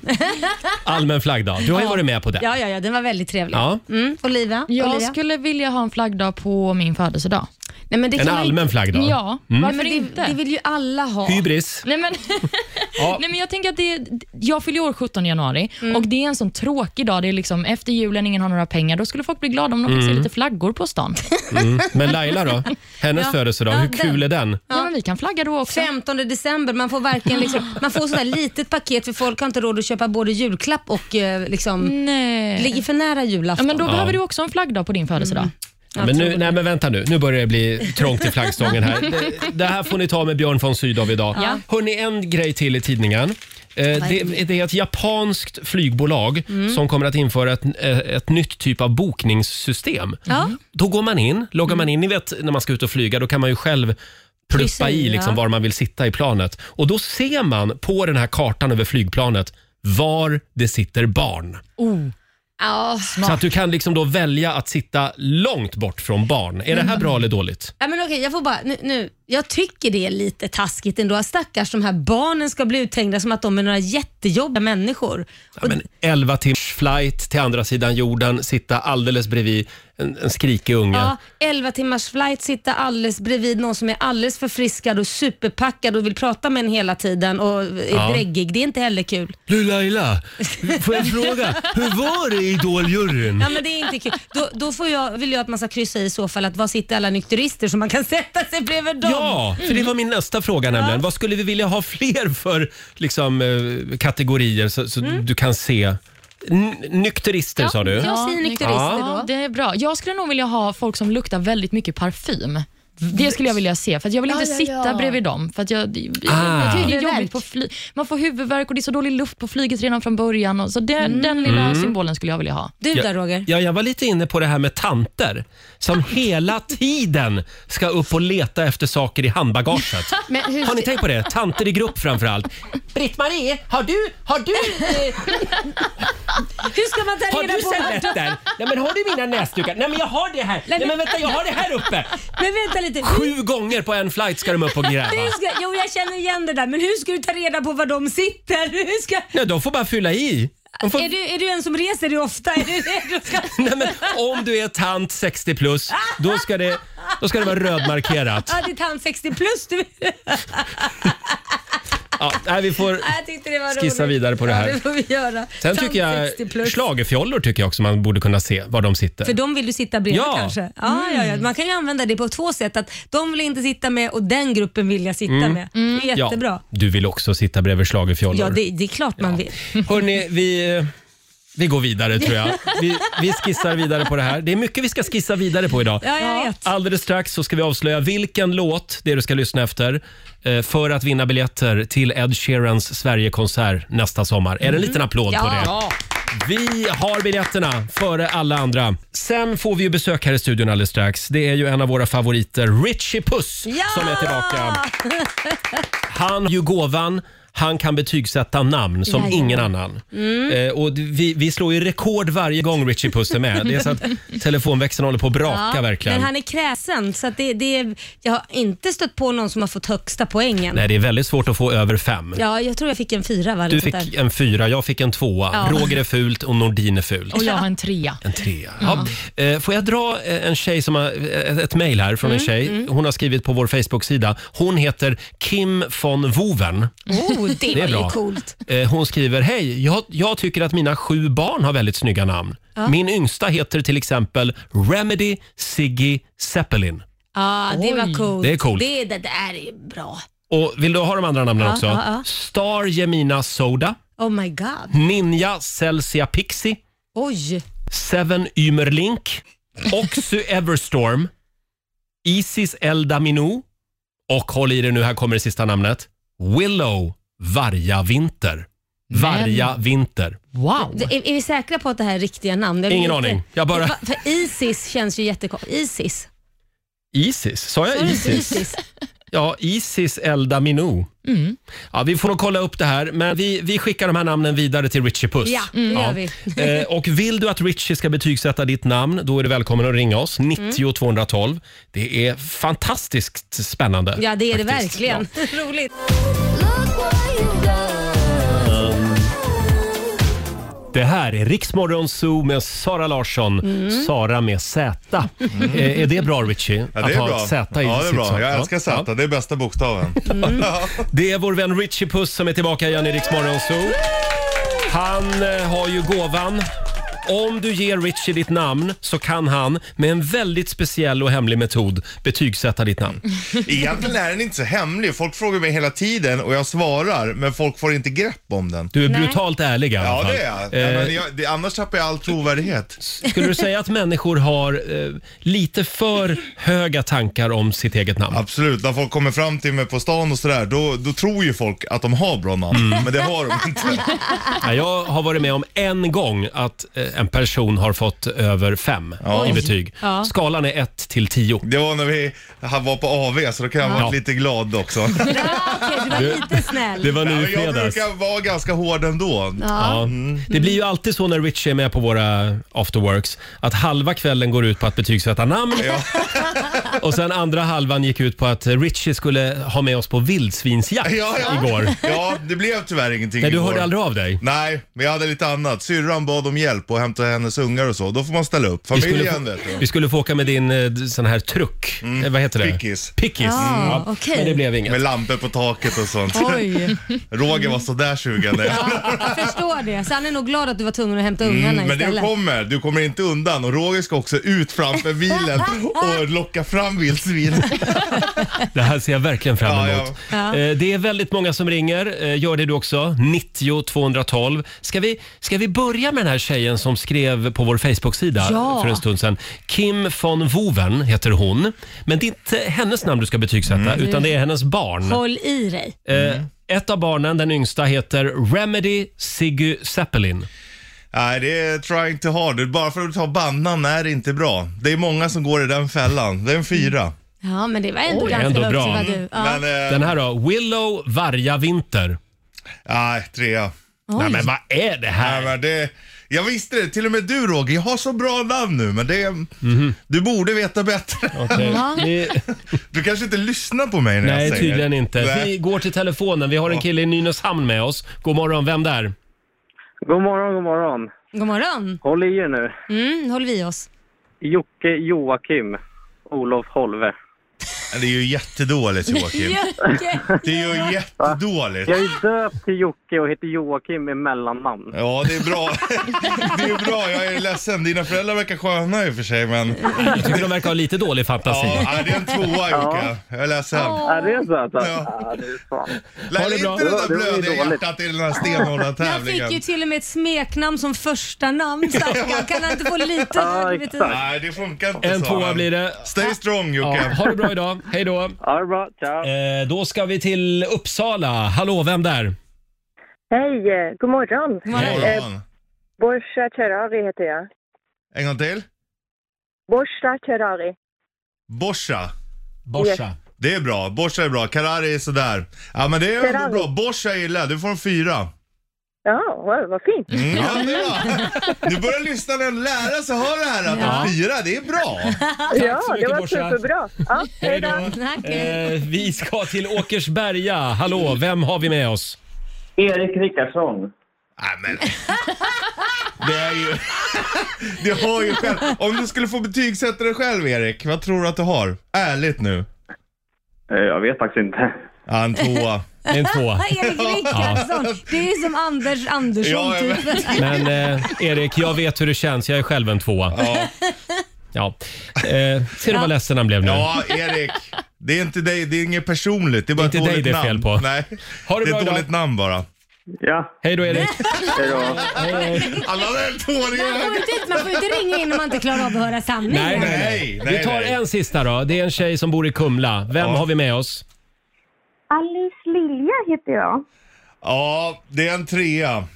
S1: Allmän flaggdag. Du har ju varit med på det.
S2: Ja, ja, ja, den var väldigt trevlig.
S1: Ja.
S2: Mm, Olivia?
S3: Jag
S2: Olivia?
S3: skulle vilja ha en flaggdag på min födelsedag.
S2: Nej, men det
S1: En
S2: kan man ju-
S1: allmän flaggdag.
S3: Ja,
S2: Nej,
S3: varför
S2: men
S3: inte?
S2: Det, det vill ju alla ha.
S1: Hybris.
S3: Nej men,
S1: Ja.
S3: Nej men jag tänker att det, jag fyller ju år 17 januari och det är en sån tråkig dag. Det är liksom efter julen, ingen har några pengar. Då skulle folk bli glada om de fick se lite flaggor på stan.
S1: Mm. Men Laila då? Hennes
S2: Ja.
S1: födelsedag,
S2: Ja,
S1: hur kul är den?
S3: Ja. men vi kan flagga då också.
S2: 15 december, man får verkligen liksom, man får sådär litet paket för folk har inte råd att köpa både julklapp och eh, liksom,
S3: Nej.
S2: ligger för nära
S3: eh, Ja,
S2: julafton.
S3: men då behöver du också en flaggdag på din födelsedag.
S1: Ja, men nu, nej men vänta nu, nu börjar det bli trångt i flaggstången här. Det, det här får ni ta med Björn von Sydow idag.
S3: Ja.
S1: Hörni, en grej till i tidningen. Eh, det, det är ett japanskt flygbolag som kommer att införa ett, eh, ett nytt typ av bokningssystem.
S2: Ja.
S1: Då går man in, loggar man in, ni vet när man ska ut och flyga, då kan man ju själv
S2: Mm. Kryssa
S1: pluppa
S2: i,
S1: i
S2: ja.
S1: liksom var man vill sitta i planet. Och då ser man på den här kartan över flygplanet var det sitter barn.
S2: Ja.
S1: Så att du kan liksom då välja att sitta långt bort från barn. Är det
S2: Mm.
S1: här bra eller dåligt?
S2: Ja, men okej, jag får bara, nu, nu, jag tycker det är lite taskigt ändå. Stackars de här barnen ska bli uthängda som att de är några jättejobbiga människor.
S1: Ja, men 11 timmars flight till andra sidan jorden, sitta alldeles bredvid en, en skrikig unge.
S2: Ja, 11 timmars flight, sitta alldeles bredvid någon som är alldeles förfriskad och superpackad och vill prata med en hela tiden och är
S1: Ja.
S2: dräggig. Det är inte heller kul.
S1: Du Laila, får jag fråga, hur var det i Idoljuryn?
S2: Ja, men det är inte kul. Då, då får jag, vill jag att man ska kryssa i så fall att var sitter alla nykterister så man kan sätta sig bredvid dem.
S1: Ja, för
S7: Mm.
S1: det var min nästa fråga nämligen. Vad skulle vi vilja ha fler för liksom, eh, kategorier så, så
S7: Mm.
S1: du kan se? N- nykterister sa du?
S2: Jag säger nykterister
S3: Ja,
S2: då.
S3: det är bra. Jag skulle nog vilja ha folk som luktar väldigt mycket parfym. Det skulle jag vilja se, för att jag vill inte
S8: ja,
S3: sitta
S8: ja.
S3: bredvid dem. För att jag, det- det-
S1: Ah.
S3: det är
S8: Huvudvärk.
S3: jobbigt på fly- Man får huvudvärk och det är så dålig luft på flyget redan från början. Och så den, den lilla symbolen skulle jag vilja ha.
S2: Du
S1: Ja,
S2: där Roger?
S1: Ja, jag var lite inne på det här med tanter som hela tiden ska upp och leta efter saker i handbagaget.
S8: Men hur
S1: Har ni tänkt på det? Tanter i grupp framförallt.
S7: Britt-Marie, har du, har du, eh,
S2: Hur ska man ta
S7: har
S2: reda
S7: du
S2: på...
S7: servetter? Nej men har du mina näsdukar? Nej men jag har det här. Nej men vänta jag har det här uppe.
S2: Men vänta lite.
S1: Sju gånger på en flight ska de upp och gräva.
S2: Hur ska, jo, jag känner igen det där, men hur ska du ta reda på var de sitter? Hur ska,
S1: Ja, de får bara fylla i. De får...
S2: är, du, är du en som reser dig ofta? Är du, är du ska,
S1: Nej, men, om du är tant 60 plus, då ska det, då ska det vara rödmarkerat.
S2: ja, det är tant 60 plus du.
S1: Ja, nej, vi får...
S2: Ja, Jag tyckte det var
S1: Skissa
S2: roligt.
S1: vidare på det här.
S2: Ja, det får vi göra.
S1: Sen
S2: Tant
S1: tycker
S2: 60 plus.
S1: jag schlagerfjollor tycker jag också man borde kunna se var de sitter.
S2: För de vill du sitta bredvid
S1: Ja. Mm.
S2: kanske? Ja, ja, ja, man kan ju använda det på två sätt. Att de vill inte sitta med och den gruppen vill jag sitta med. Det är jättebra.
S1: Mm. Ja, du vill också sitta bredvid schlagerfjollor.
S2: Ja, det, det är klart man vill.
S1: Hörni, vi, vi går vidare tror jag. Vi, vi skissar vidare på det här. Det är mycket vi ska skissa vidare på idag.
S2: Ja, jag vet.
S1: Alldeles strax så ska vi avslöja vilken låt det är du ska lyssna efter eh, för att vinna biljetter till Ed Sheerans Sverigekonsert nästa sommar. Är det
S2: Mm.
S1: en liten applåd på det? Vi har biljetterna före alla andra. Sen får vi ju besök här i studion alldeles strax. Det är ju en av våra favoriter, Richie Puss,
S2: Ja!
S1: som är tillbaka. Han har ju gåvan han kan betygsätta namn som ingen annan.
S2: Mm.
S1: Eh, och d- vi, vi slår ju rekord varje gång Richie Puss är med. Det är så att telefonväxeln håller på att braka
S2: Ja,
S1: verkligen.
S2: Men han är kräsen, så att det, det är, jag har inte stött på någon som har fått högsta poängen.
S1: Nej, det är väldigt svårt att få över fem.
S2: Ja, jag tror jag fick en fyra. Va? Eller
S1: Du
S2: sånt där.
S1: fick en fyra, jag fick en tvåa.
S2: Ja.
S1: Roger är fult och Nordin är fult.
S3: Och jag har en trea.
S1: En trea. Ja. Eh, Får jag dra eh, en tjej som har, eh, ett mejl här från
S2: Mm,
S1: en tjej. Hon har skrivit på vår Facebook-sida. Hon heter Kim von Woven.
S2: Oh, det,
S1: Det är
S2: var ju
S1: bra.
S2: coolt.
S1: Eh, Hon skriver, hej, jag, jag tycker att mina sju barn har väldigt snygga namn. Min yngsta heter till exempel Remedy Siggy Zeppelin.
S2: Ja, det var coolt.
S1: Det är coolt.
S2: Det, det där är bra.
S1: Och vill du ha de andra namnen
S2: Ja,
S1: också?
S2: ja, ja.
S1: Star Jemina Soda,
S2: Oh my god.
S1: Ninja Celsia Pixie,
S2: Oj.
S1: Seven Ymerlink, Oxy Everstorm, Isis Elda Minou och håll i det nu, här kommer det sista namnet. Willow Vargavinter. Varja vinter.
S3: Wow!
S2: Är, är vi säkra på att det här är riktiga namn? Eller
S1: Ingen
S2: inte?
S1: aning. Jag bara...
S2: Va- För Isis känns ju jättekonstigt. Isis?
S1: Isis? Sa
S2: Sa
S1: jag
S2: du inte
S1: Isis? Ja, Isis Elda Minou.
S2: Mm.
S1: Ja, vi får nog kolla upp det här, men vi, vi skickar de här namnen vidare till Richie Puss.
S2: Ja, det gör vi.
S1: Eh, och vill du att Richie ska betygsätta ditt namn, då är du välkommen att ringa
S2: Mm.
S1: oss. 90 212. Det är fantastiskt spännande.
S2: Ja, det är det
S1: faktiskt.
S2: verkligen. Roligt.
S1: Det här är Riksmorgon Zoo med Sara Larsson. Sara med Z. Eh, är det bra Richie?
S8: Ja, det
S1: att
S8: är
S1: ha
S8: bra.
S1: ett Z i
S8: ja, det är
S1: sitt
S8: bra.
S1: sånt,
S8: Jag
S1: va?
S8: älskar Z. Det är bästa bokstaven.
S1: Det är vår vän Richie Puss som är tillbaka igen i Rix Morgon Zoo. Han eh, har ju gåvan. Om du ger Richie ditt namn så kan han med en väldigt speciell och hemlig metod betygsätta ditt namn.
S8: Egentligen är den inte så hemlig. Folk frågar mig hela tiden och jag svarar, men folk får inte grepp om den.
S1: Du är brutalt ärlig i alla
S8: Ja,
S1: fall. Eh,
S8: det är jag. Ja, men jag det, annars tappar jag all trovärdighet.
S1: Skulle du säga att människor har eh, lite för höga tankar om sitt eget namn?
S8: Absolut, när folk kommer fram till mig på stan och sådär, då, då tror ju folk att de har bra namn,
S1: Mm.
S8: men det har de inte.
S1: Ja, jag har varit med om en gång att eh, en person har fått över fem i betyg.
S2: Ja.
S1: Skalan är 1 till 10.
S8: Det var när vi han var på AV, så då kan jag vara
S1: Ja.
S8: lite glad också.
S2: Ja, okej, du var lite snäll.
S1: Det var nu
S8: Ja,
S1: i
S8: men jag
S1: fredags.
S8: brukar vara ganska hård ändå.
S1: Ja. Det blir ju alltid så när Richie är med på våra afterworks att halva kvällen går ut på att betygsätta namn och sen andra halvan gick ut på att Richie skulle ha med oss på vildsvinsjakt
S8: Ja, ja.
S1: igår.
S8: Ja, det blev tyvärr ingenting
S1: Nej, du
S8: igår.
S1: hörde aldrig av dig.
S8: Nej, men jag hade lite annat. Syrran bad om hjälp och hämta hennes ungar och så. Då får man ställa upp.
S1: Vi skulle,
S8: Familjen
S1: få,
S8: vet du.
S1: Mm. vi skulle få åka med din eh, d- sån här truck. Eh, Vad heter det?
S8: Pickis.
S1: Pickis.
S2: Ja, okej.
S1: Men det blev inget.
S8: Med lampor på taket och sånt.
S3: Oj.
S8: Roger var sådär sugen. Mm,
S2: Jag förstår det. Så han är nog glad att du var tvungen att hämta ungarna
S8: Mm, men du
S2: istället.
S8: kommer, du kommer inte undan och Roger ska också ut framför bilen och locka fram vildsvin.
S1: Det här ser jag verkligen fram
S8: Ja,
S1: emot. Eh, Det är väldigt många som ringer. Eh, Gör det du också. 90 212. Ska vi, ska vi börja med den här tjejen som skrev på vår Facebook-sida
S3: Ja.
S1: för en stund sedan? Kim von Woven heter hon. Men det är inte hennes namn du ska betygsätta, utan det är hennes barn.
S2: Håll i dig.
S1: Eh, Ett av barnen, den yngsta, heter Remedy Siggy Zeppelin.
S8: Nej, det är trying to hard. Bara för att ta bannan är det inte bra. Det är många som går i den fällan. Det är en fyra.
S2: Ja, men det var ändå
S1: Oj,
S2: ganska
S1: ändå
S2: högt,
S1: bra.
S2: så var du. Mm. Ja.
S8: Men, eh,
S1: Den här då? Willow Varga Vinter.
S8: nej, trea.
S1: Nej, men vad är det
S8: Nej,
S1: här?
S8: men det, jag visste det, till och med du Roger. Jag har så bra namn nu, men det... Du borde veta bättre.
S1: Okej, vi-
S8: Du kanske inte lyssnar på mig när jag
S1: Nej,
S8: säger
S1: tydligen inte.
S8: Nej.
S1: Vi går till telefonen. Vi har en kille i Nynäshamn med oss. God morgon, vem där?
S9: God morgon, god morgon.
S2: God morgon.
S9: Håll i er nu.
S2: Mm, håller vi oss.
S9: Jocke Joakim Olof Holve.
S8: Det är ju jättedåligt Joakim. Det är ju jättedåligt.
S9: Jag är döpt till Jocke och heter Joakim med mellannamn.
S8: Ja, det är bra. Det är bra, jag är ledsen. Dina föräldrar verkar sköna i och för sig, men...
S1: Jag tycker de verkar ha lite dålig fantasi.
S8: Ja, nej, det är en tvåa Jocke. Jag är ledsen.
S9: Är det så? Alltså?
S8: Ja.
S9: Ja, det är fan.
S1: Ha
S8: Lär
S1: det
S8: inte
S1: bra.
S8: det
S9: Det
S8: där
S9: var- det var ju
S8: blödiga
S9: dåligt.
S8: hjärtat i den här stenhårda
S2: Han fick ju
S8: tävlingen.
S2: till och med ett smeknamn som första namn stackarn. Kan han inte få lite
S9: Ja,
S2: högre
S9: exakt.
S2: betyg?
S8: Nej, det funkar inte
S1: En
S8: sa
S1: tvåa
S8: han.
S1: blir det.
S8: Stay
S1: Ja,
S8: strong Jocke.
S1: ha det bra idag. Hej då.
S9: Ja, det är bra. Ciao.
S1: Eh, då ska vi till Uppsala. Hallå, vem där?
S10: Hej, eh, god morgon. Eh,
S8: God morgon.
S10: Borsa Terrari heter jag.
S8: En gång till.
S10: Borsa Terrari.
S8: Borsa.
S1: Borsa.
S8: Det är bra. Borsa är bra. Karari är sådär. Ja, men det är ändå
S10: Ferrari.
S8: bra. Borsa gillar jag. Du får en fyra.
S10: Ja, wow, vad fint.
S8: Mm, ja, det är bra. Nu börjar lyssnaren lära sig höra det här att
S1: Ja.
S8: en fyra, det är bra.
S10: ja,
S1: så mycket,
S10: det var
S1: Borsa.
S10: superbra. Ja,
S1: Hej
S10: hej då.
S1: då.
S2: Tack.
S1: Eh, vi ska till Åkersberga. Hallå, vem har vi med oss?
S9: Erik Rickardsson.
S8: Nej, men. Det är ju... Du har ju själv... Om du skulle få betygsätta dig själv, Erik, vad tror du att du har? Ärligt nu.
S9: Eh, Jag vet faktiskt inte.
S8: Ja, en tvåa.
S1: Det är en tvåa.
S2: Erik Rickardsson. Det är som Anders Andersson
S8: Ja, jag
S2: typ.
S1: Men eh, Erik, jag vet hur det känns. Jag är själv en tvåa.
S8: Ja.
S1: Ja. Eh, ser du vad ledsen han blev nu?
S8: ja, Erik. Det är inte dig, det är inget personligt. Det är
S1: Det
S8: bara
S1: är
S8: ett
S1: inte
S8: dåligt
S1: dig det är fel
S8: namn.
S1: på.
S8: Nej.
S1: Ha det
S8: det är
S1: bra
S8: ett
S1: idag.
S8: dåligt namn bara.
S9: Ja,
S1: Hej då Erik.
S9: hej då.
S8: Alla där tvååringarna
S2: Man får inte ut- Man får inte ringa in om man inte klarar av att höra sanningen.
S1: Nej, nej, nej.
S8: Nej, nej,
S1: Vi tar
S8: nej.
S1: en sista då. Det är en tjej som bor i Kumla. Vem har vi med oss?
S10: Alice Lilja heter jag.
S8: Ja, det är en trea.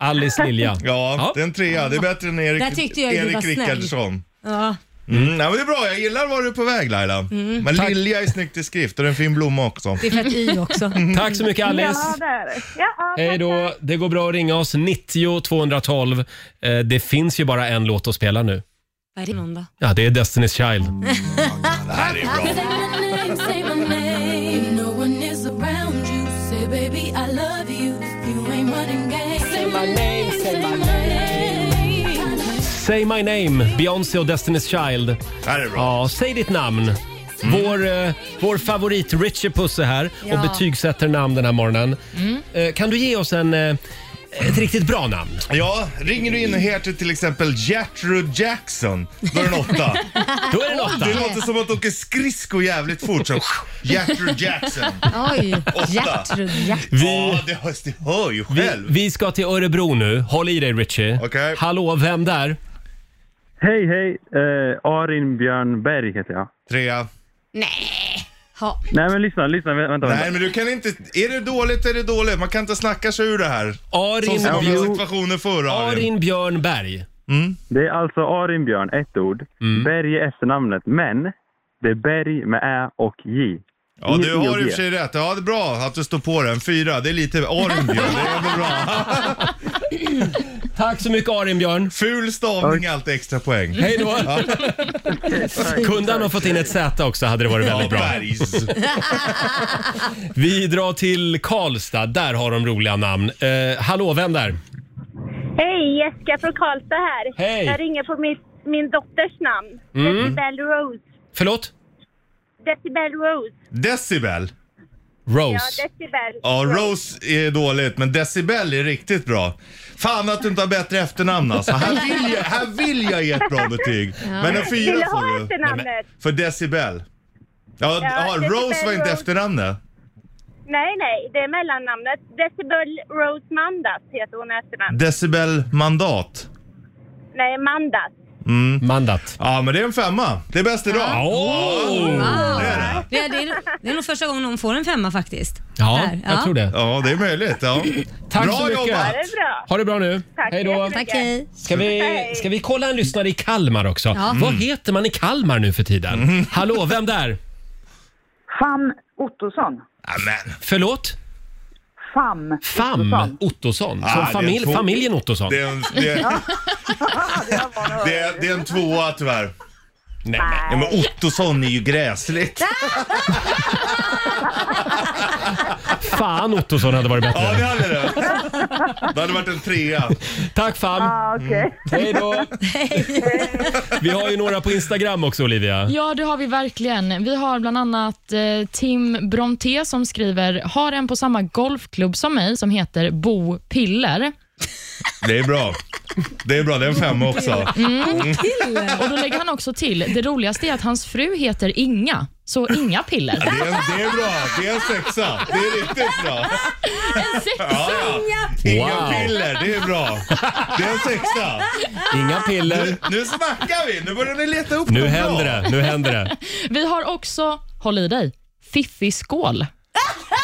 S1: Alice Lilja.
S8: Ja, det är en trea. Det är bättre än Erik,
S2: Där tyckte jag ju du var
S8: Erik
S2: snäll.
S8: Rickardsson.
S2: Ja.
S8: Mm, nej, men det är bra, jag gillar var du är på väg Laila. Men Lilja är snyggt i skrift och det är en fin blomma också.
S2: Mm. Det är för att i också.
S1: Tack så mycket
S5: Ja,
S1: Alice.
S5: det är det. Ja,
S1: Hej då. Det går bra att ringa oss 90 212. Eh, Det finns ju bara en låt att spela nu.
S2: Vad är det någon då?
S1: Ja, det är Destiny's Child.
S8: Det här är bra.
S1: Say My Name, Beyoncé och Destiny's Child.
S8: Det här är bra.
S1: Ja, säg ditt namn.
S8: Mm.
S1: Vår, eh, vår favorit Richie Puss är här
S2: Ja.
S1: och betygsätter namn den här morgonen. Eh, kan du ge oss en, eh, ett riktigt bra namn?
S8: Ja, ringer du in och heter till exempel Gertrud Jackson, då är det en åtta.
S1: Då är det en
S8: Det
S1: åtta.
S8: låter som att du åker skridskor jävligt fort. Så. Gertrud Jackson.
S2: Oj,
S8: Åtta.
S2: Gertrud. Ja.
S8: Ja, det hör, det hör ju
S1: Vi,
S8: själv.
S1: vi ska till Örebro nu. Håll i dig Richie.
S8: Okej.
S1: Hallå, vem där?
S9: Hej, hej! Eh, Arin Björnberg heter jag.
S8: Trea.
S2: Ha.
S9: Nej, men lyssna, lyssna, vä- vänta, vänta.
S8: Nej, men du kan inte... Är det dåligt är det dåligt. Man kan inte snacka sig ur det här. Som
S1: Arin,
S8: så många
S1: Björn,
S8: situationer förr, Arin.
S1: Arin Björn Berg.
S9: Det är alltså Arin Björn, ett ord. Berg är efternamnet, men det är Berg med Ä och J.
S8: Ja,
S9: Inget
S8: du
S9: E och
S8: har i och
S9: G.
S8: för sig rätt. Ja, det är bra att du står på den. Fyra, det är lite... Arin Björn, det är ändå bra.
S1: Tack så mycket Arin Björn.
S8: Ful stavning, alltid extra poäng.
S1: Hej då. Kunde han ha fått in ett Z också hade det varit
S8: Ja,
S1: väldigt bra.
S8: Bergs.
S1: Vi drar till Karlstad. Där har de roliga namn. Eh, hallå, vem där?
S5: Hej, Jessica från Karlstad här.
S1: Hej. Jag
S5: ringer på min, min dotters namn.
S1: Mm.
S5: Decibel Rose.
S1: Förlåt?
S5: Decibel Rose.
S8: Decibel.
S1: Rose.
S5: Decibel.
S8: Ja, Rose är dåligt, men Decibel är riktigt bra. Fan att du inte har bättre efternamn alltså. Här vill jag, här vill jag ge ett bra betyg. Men en fyra
S5: Vill du
S8: får
S5: ha
S8: du.
S5: efternamnet?
S8: Nej, men- För Decibel. Ja, ja,
S5: Decibel
S8: Rose var inte
S5: Rose.
S8: efternamnet.
S5: Nej, nej, det är mellannamnet. Decibel Rose Mandas heter hon i efternamn.
S8: Decibel mandat.
S5: Nej, Mandas.
S1: Mandat.
S8: Ja, men det är en femma. Det är bäst idag.
S2: Wow.
S8: Det är det.
S2: Det, är, det, är, det är nog första gången någon får en femma faktiskt.
S1: Ja,
S2: Där,
S1: jag tror det.
S8: Ja, det är möjligt. Ja.
S1: Tack
S8: Bra
S1: så mycket.
S8: jobbat.
S5: Det är bra.
S1: Ha det bra nu.
S5: Tack
S1: Hej då.
S5: jättemycket.
S2: Tack, hej.
S1: Ska vi, ska vi kolla en lyssnare i Kalmar också?
S2: Ja.
S1: Vad heter man i Kalmar nu för tiden?
S8: Mm.
S1: Hallå, vem där?
S10: Fam Ottosson.
S8: Amen.
S1: Förlåt?
S10: Fam.
S1: Fam Ottosson. Som
S8: Ah, det är
S1: familj,
S8: två-
S1: familjen Ottosson.
S8: Det är en, det är, det är, det är en tvåa tyvärr.
S1: Nej, men.
S8: Ja, men Ottosson är ju gräsligt.
S1: Fan Ottosson hade varit
S8: Ja, det
S1: bättre.
S8: hade det. Det hade varit en trea.
S1: Tack Fam.
S10: Ah, okej.
S1: Hej då. Vi har ju några på Instagram också Olivia.
S3: Ja, det har vi verkligen. Vi har bland annat eh, Tim Bronté som skriver, har en på samma golfklubb som mig som heter Bo Piller.
S8: Det är bra. Det är bra, det är en femma också.
S3: Och då lägger han också till, det roligaste är att hans fru heter Inga, så Inga
S8: Det
S3: Piller.
S8: är, en, det är bra, det är en sexa. Det är riktigt bra.
S3: En sexa!
S8: Ja, ja. Inga
S1: Wow.
S8: piller, det är bra. Det är en sexa.
S1: Inga piller.
S8: Nu, nu snackar vi, nu börjar ni leta upp
S1: Nu
S8: något
S1: händer
S8: bra.
S1: det, nu händer det.
S3: Vi har också, håll i dig, Fiffi Skål.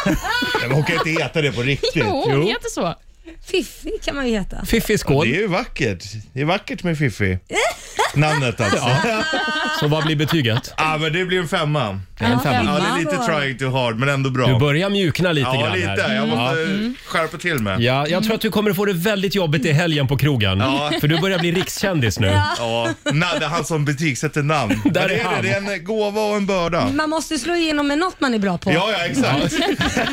S8: Nej, men Hon kan inte heta det på riktigt.
S3: Jo,
S1: Jo.
S3: hon heter så.
S2: Fiffi kan man ju heta.
S1: Fiffi skål.
S8: Det är ju vackert. Det är vackert med Fifi. Namnet alltså. Ja.
S1: Så vad blir betyget?
S8: ah, men det blir en femma.
S1: En
S8: Ja,
S1: femma.
S8: det är lite trying too hard, men ändå bra.
S1: Du börjar mjukna lite
S8: ja,
S1: grann
S8: lite.
S1: här. Mm.
S8: Jag måste eh, skärpa till mig.
S1: Ja, jag tror att du kommer få det väldigt jobbigt i helgen på krogen.
S8: Ja.
S1: För du börjar bli rikskändis nu.
S8: Ja, na, det är han som betygsätter namn. Men
S1: är
S8: det, är
S1: han.
S8: det, det är en gåva och en börda.
S2: Man måste ju slå igenom med något man är bra på.
S8: Ja, ja exakt.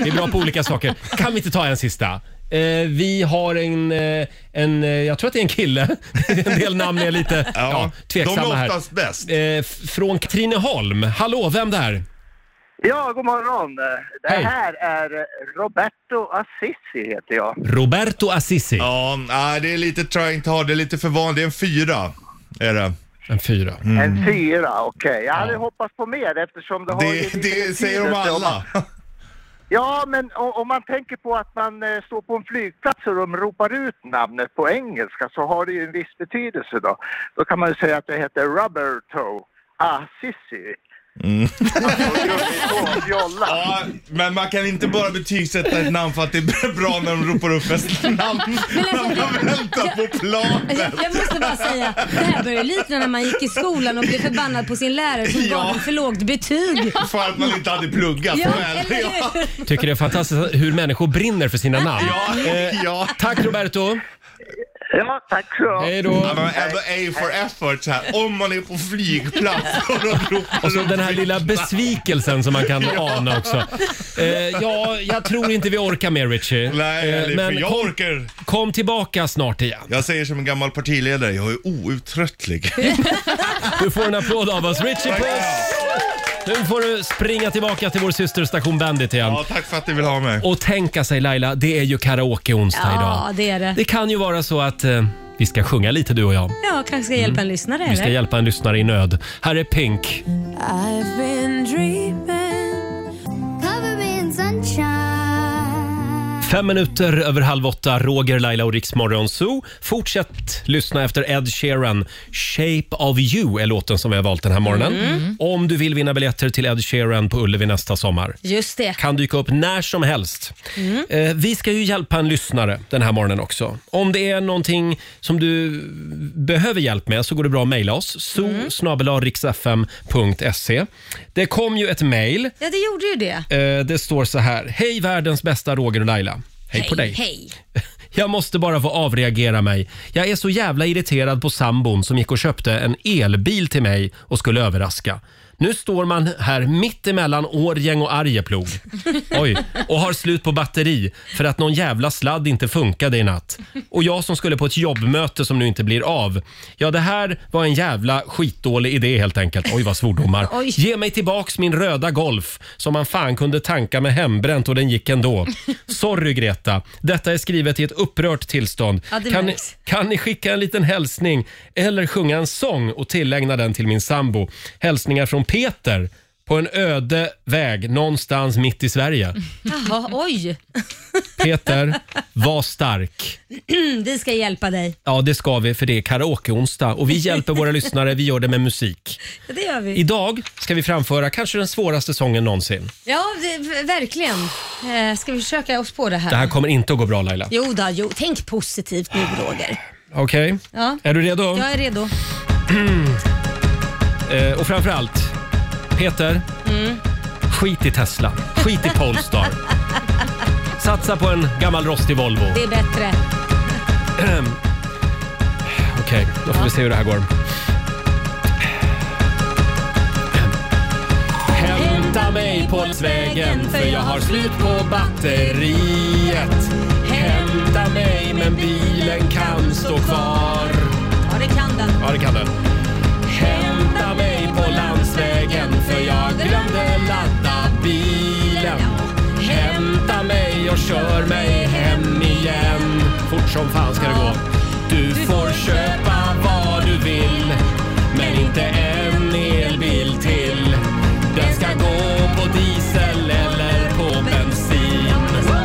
S1: Det är bra på olika saker. Kan vi inte ta en sista? Eh, vi har en, eh, en, eh, jag tror att det är en kille. En del namn är lite ja, tveksamma
S8: de är
S1: här.
S8: oftast bäst.
S1: Eh, f- från Katrineholm. Hallå, vem där?
S9: Ja, god morgon. Det
S1: Hej.
S9: här är Roberto Assisi heter jag.
S1: Roberto Assisi.
S8: Ja, nej, det är lite trying to hard. Det är lite för vanligt. Det är en fyra. Är det.
S1: En fyra.
S8: Mm.
S9: En fyra, okej. Jag hade hoppats på mer eftersom det har ju
S8: Det,
S9: lite
S8: det säger de
S9: betydelse om man-
S8: alla.
S9: Ja, men o- om man tänker på att man eh, står på en flygplats och de ropar ut namnet på engelska så har det ju en viss betydelse då. Då kan man ju säga att det heter Rubber Toe Assisi.
S8: Mm.
S9: Jolla.
S8: Ja, men man kan inte bara betygsätta ett namn för att det är bra när de ropar upp ens
S2: alltså,
S8: namn. Man får vänta på planet.
S2: Jag måste bara säga, det här börjar likna när man gick i skolan och blev förbannad på sin lärare som
S8: Ja.
S2: gav en för lågt betyg.
S8: För att man inte hade pluggat
S2: Ja,
S8: väl.
S2: eller
S8: Ja.
S2: hur?
S1: Tycker det är fantastiskt hur människor brinner för sina namn.
S8: Ja,
S1: Eh,
S8: ja.
S1: Tack Roberto!
S9: Ja, tack så du
S1: Hej
S8: Ja,
S1: då!
S8: men ändå A for effort så här. Om man är på flygplats och de ropar
S1: Och så
S8: upp
S1: den här
S8: sitt
S1: lilla
S8: namn.
S1: besvikelsen som man kan ana också. Eh, ja, jag tror inte vi orkar mer Richie.
S8: Nej,
S1: Eh,
S8: eller, för jag
S1: kom,
S8: orkar.
S1: kom tillbaka snart igen.
S8: Jag säger som en gammal partiledare, jag är outtröttlig.
S1: Du får en applåd av oss. Richie Puss! Nu får du springa tillbaka till vår systerstation Bandit igen.
S8: Ja, tack för att ni vill ha mig.
S1: Och tänka sig Laila, det är ju karaoke-onsdag
S2: Ja,
S1: idag.
S2: det är det.
S1: Det kan ju vara så att eh, vi ska sjunga lite du och jag.
S2: Ja, kanske ska hjälpa
S1: Mm.
S2: en lyssnare
S1: Vi ska
S2: eller?
S1: hjälpa en lyssnare i nöd. Här är Pink. Fem minuter över halv åtta, Roger, Laila och Riksmorgon Zoo. Fortsätt lyssna efter Ed Sheeran. Shape of you är låten som vi har valt den här morgonen.
S2: Mm.
S1: Om du vill vinna biljetter till Ed Sheeran på Ullevi nästa sommar.
S2: Just det.
S1: Kan dyka upp när som helst. Eh, vi ska ju hjälpa en lyssnare den här morgonen också. Om det är någonting som du behöver hjälp med så går det bra att mejla oss. zoo.riksfm.se Det kom ju ett mejl.
S2: Ja, det gjorde ju det.
S1: Eh, Det står så här. Hej världens bästa Roger och Laila. Hej, på dig.
S2: Hej.
S1: Jag måste bara få avreagera mig. Jag är så jävla irriterad på sambon som gick och köpte en elbil till mig och skulle överraska. Nu står man här mitt emellan Årjäng och Arjeplog. Oj, och har slut på batteri för att någon jävla sladd inte funkade i natt. Och jag som skulle på ett jobbmöte som nu inte blir av. Ja, det här var en jävla skitdålig idé helt enkelt. Oj, vad svordomar.
S2: Oj.
S1: Ge mig tillbaks min röda Golf som man fan kunde tanka med hembränt och den gick ändå. Sorry Greta, detta är skrivet i ett upprört tillstånd.
S2: Ja, det
S1: kan, ni,
S2: märks.
S1: kan ni skicka en liten hälsning eller sjunga en sång och tillägna den till min sambo? Hälsningar från Peter på en öde väg någonstans mitt i Sverige.
S2: Jaha, oj.
S1: Peter, var stark.
S2: Mm, Vi ska hjälpa dig.
S1: Ja, det ska vi för det är karaokeonsdag och vi hjälper våra lyssnare. Vi gör det med musik.
S2: Ja, det gör vi.
S1: Idag ska vi framföra kanske den svåraste sången någonsin.
S2: Ja, det, verkligen. Eh, Ska vi försöka oss på det här?
S1: Det här kommer inte att gå bra Laila.
S2: Jo, då, jo, tänk positivt nu Roger.
S1: Okej,
S2: Ja.
S1: är du redo?
S2: Jag är redo.
S1: Eh, och framförallt, Peter.
S2: Mm.
S1: Skit i Tesla. Skit i Polestar. Satsa på en gammal rostig Volvo.
S2: Det är bättre.
S1: Okej, då får vi se hur det här går. Hämta mig Polsvägen för jag har slut på batteriet. Hämta mig men bilen kan stå kvar.
S2: Ja, det kan den.
S1: Ja, det kan den. Hämta mig på landsvägen för jag glömde ladda bilen. Hämta mig och kör mig hem igen. Fort som fan ska det gå. Du får köpa vad du vill, men inte en elbil till. Den ska gå på diesel eller på bensin. Ja.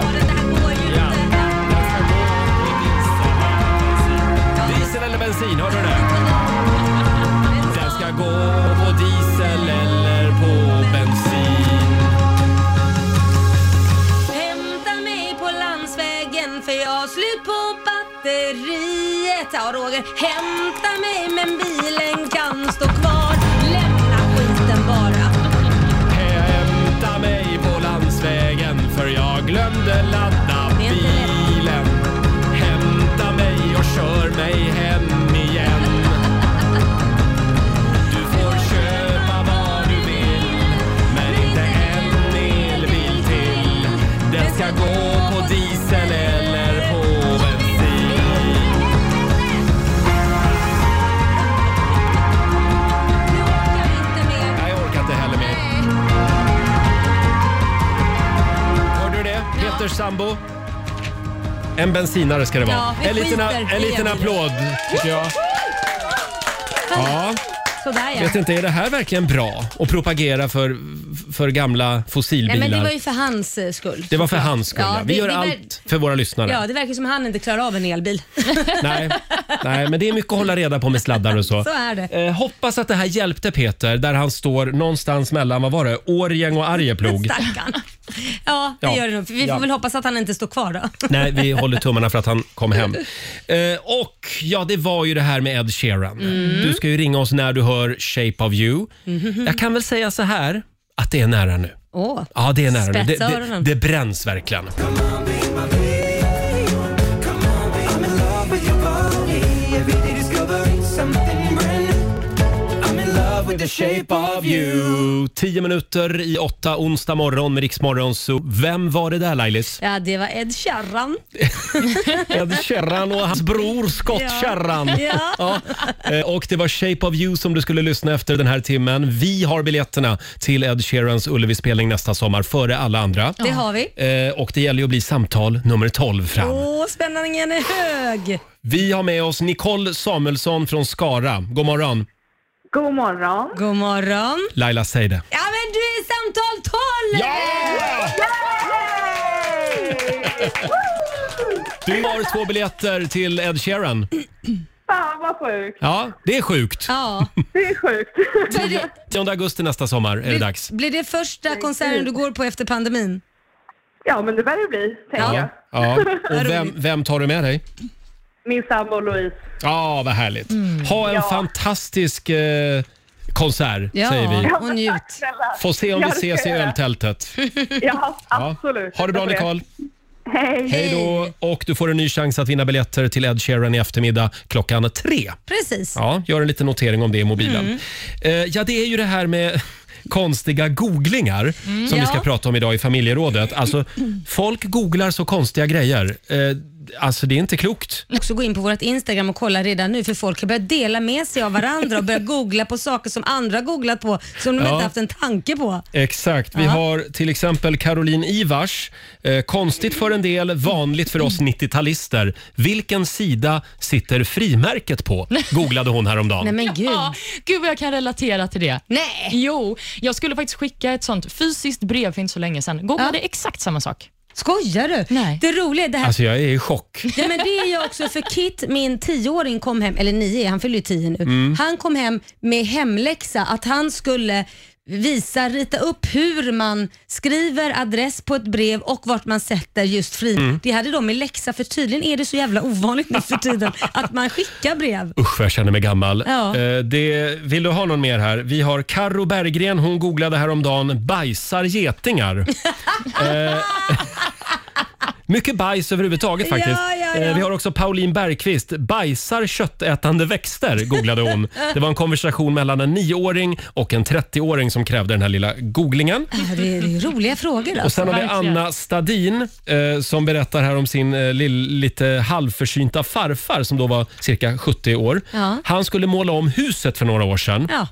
S1: Den ska gå på diesel eller bensin. Diesel eller bensin, hörde du det? Den ska gå på diesel eller på bensin.
S2: Hämta mig på landsvägen för jag har slut på batteriet. Ja, Roger. Hämta mig men bilen kan stå kvar. Lämna skiten bara.
S1: Hämta mig på landsvägen för jag glömde ladda
S2: Det är inte lätt.
S1: bilen. Hämta mig och kör mig hem igen. Du får köpa vad du vill, men inte en elbil till. Den ska gå på diesel eller på bensin.
S2: Nu orkar vi inte mer.
S1: Nej, jag orkar inte heller mer. Hörde du det? Peters sambo. En bensinare ska det vara.
S2: Ja, vi
S1: en liten,
S2: skiter
S1: en
S2: i
S1: liten
S2: det.
S1: applåd tycker jag. Ja.
S2: Sådär
S1: Jag vet
S2: ja.
S1: inte, är det här verkligen bra? Att propagera för, för gamla fossilbilar?
S2: Nej, men det var ju för hans eh, skull.
S1: Det var för hans skull. Ja,
S2: det-
S1: Vi gör
S2: det var-
S1: allt för våra lyssnare.
S2: Ja, det verkar som han inte klarar av en elbil.
S1: Nej, nej, men det är mycket att hålla reda på med sladdar och så.
S2: Så är det.
S1: Eh, hoppas att det här hjälpte Peter där han står någonstans mellan, vad var det, Årjäng och Arjeplog.
S2: Stackarn. Ja, det
S1: Ja.
S2: gör det nog. Vi
S1: Ja.
S2: får väl hoppas att han inte står kvar då.
S1: Nej, vi håller tummarna för att han kom hem. Eh, och ja, det var ju det här med Ed Sheeran.
S2: Mm.
S1: Du ska ju ringa oss när du hör Shape of you.
S2: Mhm.
S1: Jag kan väl säga så här, att det är nära nu.
S2: Åh.
S1: Ja, det är nära nu. Det,
S2: Spetsa
S1: det,
S2: öronen.
S1: det bränns verkligen. Tio minuter i åtta onsdag morgon med Riksmorgon. Så vem var det där Lailis?
S2: Ja, det var Ed Sheeran.
S1: Ed Sheeran och hans bror Scott
S2: Ja.
S1: Sheeran.
S2: Ja.
S1: Eh, Och det var Shape of you som du skulle lyssna efter den här timmen. Vi har biljetterna till Ed Sheerans Ullevi-spelning nästa sommar före alla andra.
S2: Det har vi.
S1: Eh, Och det gäller ju att bli samtal nummer 12 fram.
S2: Åh, spänningen är hög.
S1: Vi har med oss Nicole Samuelsson från Skara. God morgon.
S2: God morgon. God morgon.
S1: Laila, säg det.
S2: Ja, men du är samtal 12!
S1: Du har två biljetter till Ed Sheeran.
S11: Fan vad sjukt.
S1: Ja, det är sjukt.
S2: Ja.
S11: Det är sjukt.
S2: Blir det,
S1: 10 augusti nästa sommar är det dags.
S2: blir det första konserten du går på efter pandemin?
S11: Ja, men det bär det bli, tänker jag.
S1: Ja. Och vem, vem tar du med dig?
S11: Min sambo Louise.
S1: Ja, vad härligt. Ha en
S11: Ja.
S1: fantastisk eh, konsert, säger vi.
S2: och njut.
S1: Får se om vi ses i öltältet.
S11: Ja, absolut.
S1: Ha det bra,
S11: Tack för
S1: Nicole.
S11: Hej.
S1: Hej då. Och du får en ny chans att vinna biljetter till Ed Sheeran i eftermiddag klockan tre.
S2: Precis.
S1: Ja, gör en liten notering om det i mobilen.
S2: Mm.
S1: Eh, ja, det är ju det här med konstiga googlingar
S2: Mm.
S1: som vi ska
S2: Ja.
S1: prata om idag i familjerådet. Alltså, folk googlar så konstiga grejer. Eh, alltså, det är inte klokt.
S2: också gå in på vårt Instagram och kolla redan nu för folk har börjat dela med sig av varandra och börjat googla på saker som andra googlat på som de
S1: Ja.
S2: inte haft en tanke på.
S1: Exakt. Vi
S2: Ja.
S1: har till exempel Caroline Ivars. Eh, konstigt för en del, vanligt för oss 90-talister. Vilken sida sitter frimärket på? Googlade hon häromdagen.
S2: men gud.
S3: Ja, gud vad jag kan relatera till det.
S2: Nej.
S3: Jo, jag skulle faktiskt skicka ett sånt fysiskt brev för inte så länge sedan. Googlade exakt samma sak.
S2: Skojar du? Nej. Det roliga är det här.
S1: Alltså jag är i chock.
S2: Ja, men det är jag också för Kit, min tioåring kom hem, eller nio, han fyller ju tio nu.
S1: Mm.
S2: Han kom hem med hemläxa att han skulle visa, rita upp hur man skriver adress på ett brev och vart man sätter just fri.
S1: Mm.
S2: Det hade de i läxa för tydligen är det så jävla ovanligt nu för tiden att man skickar brev.
S1: Usch, vad jag känner mig gammal.
S2: Ja.
S1: Eh, det, vill du ha någon mer här? Vi har Karo Berggren. Hon googlade häromdagen “bajsar getingar”. eh, mycket bajs överhuvudtaget faktiskt.
S2: Ja, ja, ja.
S1: Eh, vi har också Pauline Bergqvist. “Bajsar köttätande växter” googlade hon. Det var en konversation mellan en nioåring och en 30-åring som krävde den här lilla googlingen.
S2: Ja, Det är, det är roliga frågor alltså.
S1: Och sen har vi Anna Stadin eh, som berättar här om sin eh, lill, lite halvförsynta farfar som då var cirka 70 år.
S2: Ja.
S1: Han skulle måla om huset för några år sedan.
S2: Ja.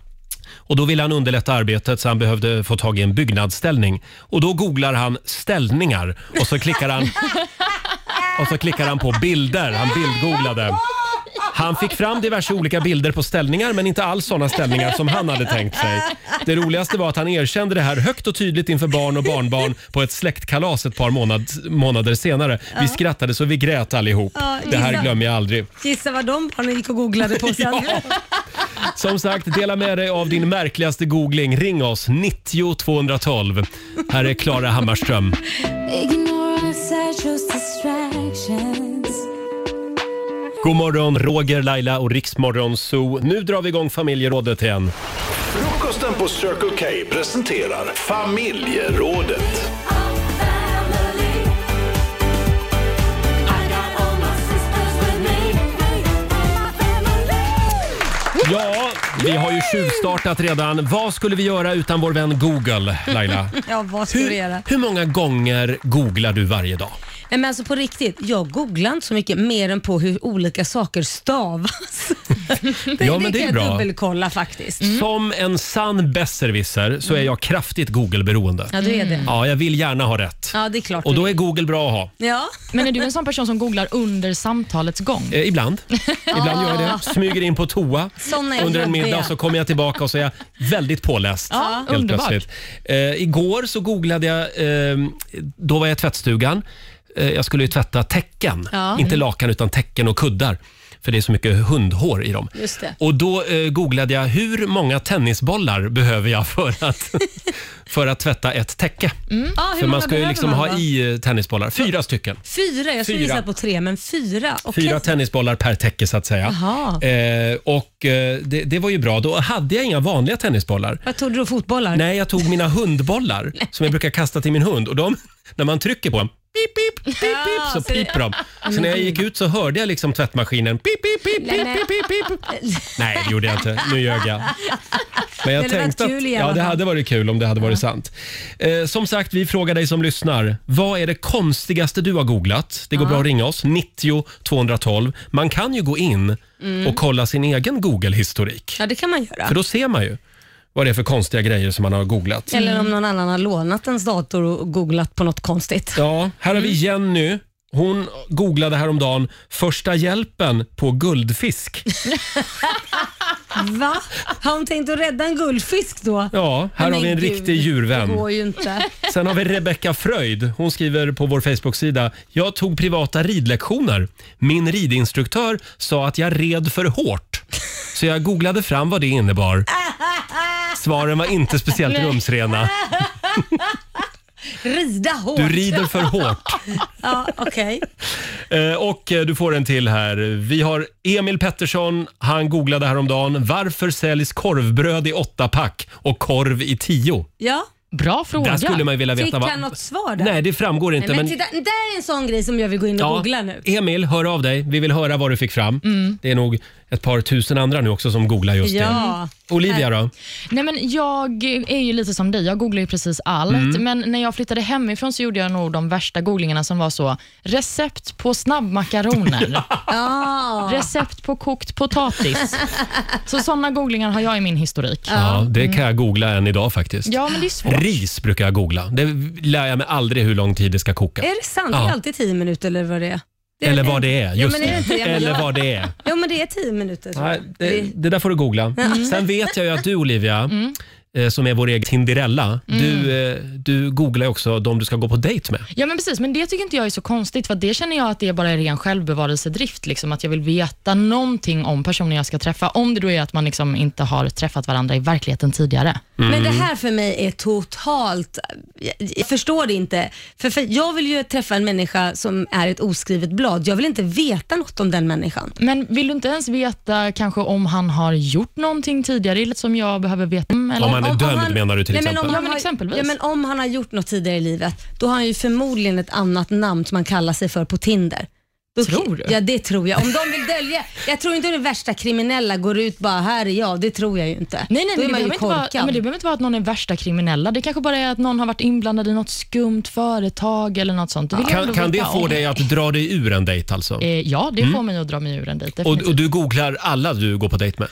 S1: Och Då ville han underlätta arbetet så han behövde få tag i en byggnadsställning. Och Då googlar han ställningar och så klickar han, och så klickar han på bilder. Han bildgooglade. Han fick fram diverse olika bilder på ställningar men inte alls sådana ställningar som han hade tänkt sig. Det roligaste var att han erkände det här högt och tydligt inför barn och barnbarn på ett släktkalas ett par månad, månader senare. Vi skrattade så vi grät allihop.
S2: Ja,
S1: Det här
S2: gissa.
S1: glömmer jag aldrig.
S2: Gissa vad de barnen gick och googlade på sen.
S1: Som sagt, dela med dig av din märkligaste googling. Ring oss, 90 212. Här är Klara Hammarström. God morgon, Roger, Laila och Riksmorgon Zoo. Nu drar vi igång familjerådet igen.
S4: Frukosten på Circle K presenterar familjerådet.
S1: Ja, vi har ju tjuvstartat redan. Vad skulle vi göra utan vår vän Google, Laila?
S2: Ja, vad ska du göra?
S1: Hur, hur många gånger googlar du varje dag?
S2: Nej, men alltså på riktigt, jag googlar inte så mycket mer än på hur olika saker stavas. det,
S1: Ja, men det är
S2: kan jag
S1: bra.
S2: dubbelkolla faktiskt.
S1: Som en sann besserwisser så är jag kraftigt Google-beroende.
S2: Mm. Ja, du är det.
S1: Ja, jag vill gärna ha rätt.
S2: Ja, det är klart
S1: Mm. Och
S2: du
S1: då är Google bra att ha.
S2: Ja.
S3: Men är du en sån person som googlar under samtalets gång?
S1: Eh, ibland. Ibland gör jag det. Smyger in på toa
S3: Såna är
S1: under en
S3: jobbiga.
S1: middag så kommer jag tillbaka och så är jag väldigt påläst.
S3: Ja, underbart.
S1: Eh, igår så googlade jag, eh, då var jag i tvättstugan. Eh, jag skulle ju tvätta täcken,
S2: Ja. Mm.
S1: inte lakan utan täcken och kuddar. För det är så mycket hundhår i dem.
S2: Just det.
S1: Och då eh, googlade jag hur många tennisbollar behöver jag för att, för att tvätta ett täcke.
S2: Mm. Ah, hur
S1: för
S2: många
S1: man ska ju
S2: behöver
S1: liksom
S2: man
S1: ha
S2: då?
S1: i eh, tennisbollar. Fyra stycken.
S2: Fyra, jag
S1: Fyra.
S2: skulle gissa på tre, men fyra. Okej.
S1: Fyra tennisbollar per täcke så att säga.
S2: Jaha.
S1: Eh, och eh, det, det var ju bra. Då hade jag inga vanliga tennisbollar.
S2: Vad tog du då? Fotbollar?
S1: Nej, jag tog mina hundbollar som jag brukar kasta till min hund. Och de, när man trycker på dem
S2: Ja,
S1: så
S2: det-
S1: piper de. Så när jag gick ut så hörde jag liksom tvättmaskinen pip, pip, pip,
S2: Nej,
S1: pip,
S2: men-
S1: pip, pip, pip. Nej, det gjorde jag inte. Nu ljög jag. Men jag
S2: Det hade varit
S1: tänkte att
S2: kul i alla
S1: ja, det
S2: fall.
S1: hade varit kul om det hade varit sant. Eh, som sagt, vi frågar dig som lyssnar. Vad är det konstigaste du har googlat? Det går
S2: Ja.
S1: bra att ringa oss. 90 212. Man kan ju gå in
S2: Mm.
S1: och kolla sin egen Google-historik.
S2: Ja, det kan man göra.
S1: För då ser man ju vad det är för konstiga grejer som man har googlat.
S2: Eller om någon annan har lånat ens dator och googlat på något konstigt.
S1: Ja, här har vi
S2: Mm.
S1: Jenny. Hon googlade häromdagen första hjälpen på guldfisk.
S2: Va? Har hon tänkt att rädda en guldfisk då?
S1: Ja, här
S2: Men
S1: har vi en
S2: gud,
S1: riktig djurvän.
S2: Det går ju inte.
S1: Sen har vi Rebecka Fröjd. Hon skriver på vår Facebook-sida. Jag tog privata ridlektioner. Min ridinstruktör sa att jag red för hårt. Så jag googlade fram vad det innebar. Svaren var inte speciellt
S2: Nej.
S1: rumsrena.
S2: Rida hårt.
S1: Du rider för hårt.
S2: ja, okej.
S1: Eh, Och eh, du får en till här. Vi har Emil Pettersson. Han googlade häromdagen. Varför säljs korvbröd i åtta pack och korv i tio?
S2: Ja.
S3: Bra
S1: fråga. Där skulle man ju vilja veta
S2: Fick
S1: vad-
S2: han något svar där?
S1: Nej, det framgår inte.
S2: Nej, men
S1: men
S2: titta, det där är en sån grej som jag vill gå in och googla nu.
S1: Emil, hör av dig. Vi vill höra vad du fick fram.
S3: Mm.
S1: Det är nog ett par tusen andra nu också som googlar just
S3: Ja.
S1: det. Olivia då?
S3: Nej, men jag är ju lite som dig. Jag googlar ju precis allt.
S1: Mm.
S3: Men när jag flyttade hemifrån så gjorde jag nog de värsta googlingarna som var så. Recept på snabbmakaroner. Recept på kokt potatis. så sådana googlingar har jag i min historik.
S1: Ja, det
S2: Mm.
S1: kan jag googla än idag faktiskt.
S3: Ja, men det är svårt.
S1: Ris brukar jag googla. Det lär jag mig aldrig hur lång tid det ska koka.
S2: Är det sant?
S1: Ja.
S2: Det är alltid 10 minuter eller vad det är. det är
S1: Eller
S2: väl-
S1: vad det är.
S2: Ja,
S1: Just
S2: men är det inte
S1: det.
S2: det? Men
S1: Eller
S2: jag-
S1: vad det är.
S2: Jo, men det är 10 minuter. tror
S1: Nej,
S2: jag.
S1: det,
S2: Det-
S1: det där får du googla.
S2: Mm.
S1: Sen vet jag ju att du Olivia, eh, som är vår egen Tinderella,
S3: Mm.
S1: du, eh, du googlar ju också de du ska gå på dejt med.
S3: Ja, men precis. Men det tycker inte jag är så konstigt, för att det känner jag att det är bara ren självbevarelsedrift. Liksom, att jag vill veta någonting om personen jag ska träffa, om det då är att man liksom inte har träffat varandra i verkligheten tidigare.
S2: Men
S1: Mm.
S2: det här för mig är totalt... Jag, jag förstår det inte. För, för Jag vill ju träffa en människa som är ett oskrivet blad. Jag vill inte veta något om den människan.
S3: Men vill du inte ens veta kanske om han har gjort någonting tidigare, det är lite som jag behöver veta? om, Eller?
S1: Om han är dömd menar du till
S2: Nej, men
S1: exempel?
S2: om
S3: Ja,
S2: han
S3: men
S2: har,
S3: exempelvis.
S2: Ja, men om han har gjort något tidigare i livet, då har han ju förmodligen ett annat namn som han kallar sig för på Tinder. Då, tror du? Ja, det tror jag. Om de vill dölja. Jag tror inte det värsta kriminella går ut bara, här är jag. Det tror jag ju inte.
S3: Nej, nej,
S2: då är
S3: nej det,
S2: man
S3: behöver
S2: ju
S3: inte vara,
S2: korkad.
S3: ja, men det behöver inte vara att någon är värsta kriminella. Det kanske bara är att någon har varit inblandad i något skumt företag eller något sånt. Det vill jag
S1: Kan,
S3: ändå
S1: kan det
S3: veta
S1: få
S3: om.
S1: dig att dra dig ur en dejt alltså?
S3: Eh, ja, det
S1: Mm.
S3: får mig att dra mig ur en dejt.
S1: Och,
S3: definitivt.
S1: och du googlar alla du går på dejt med?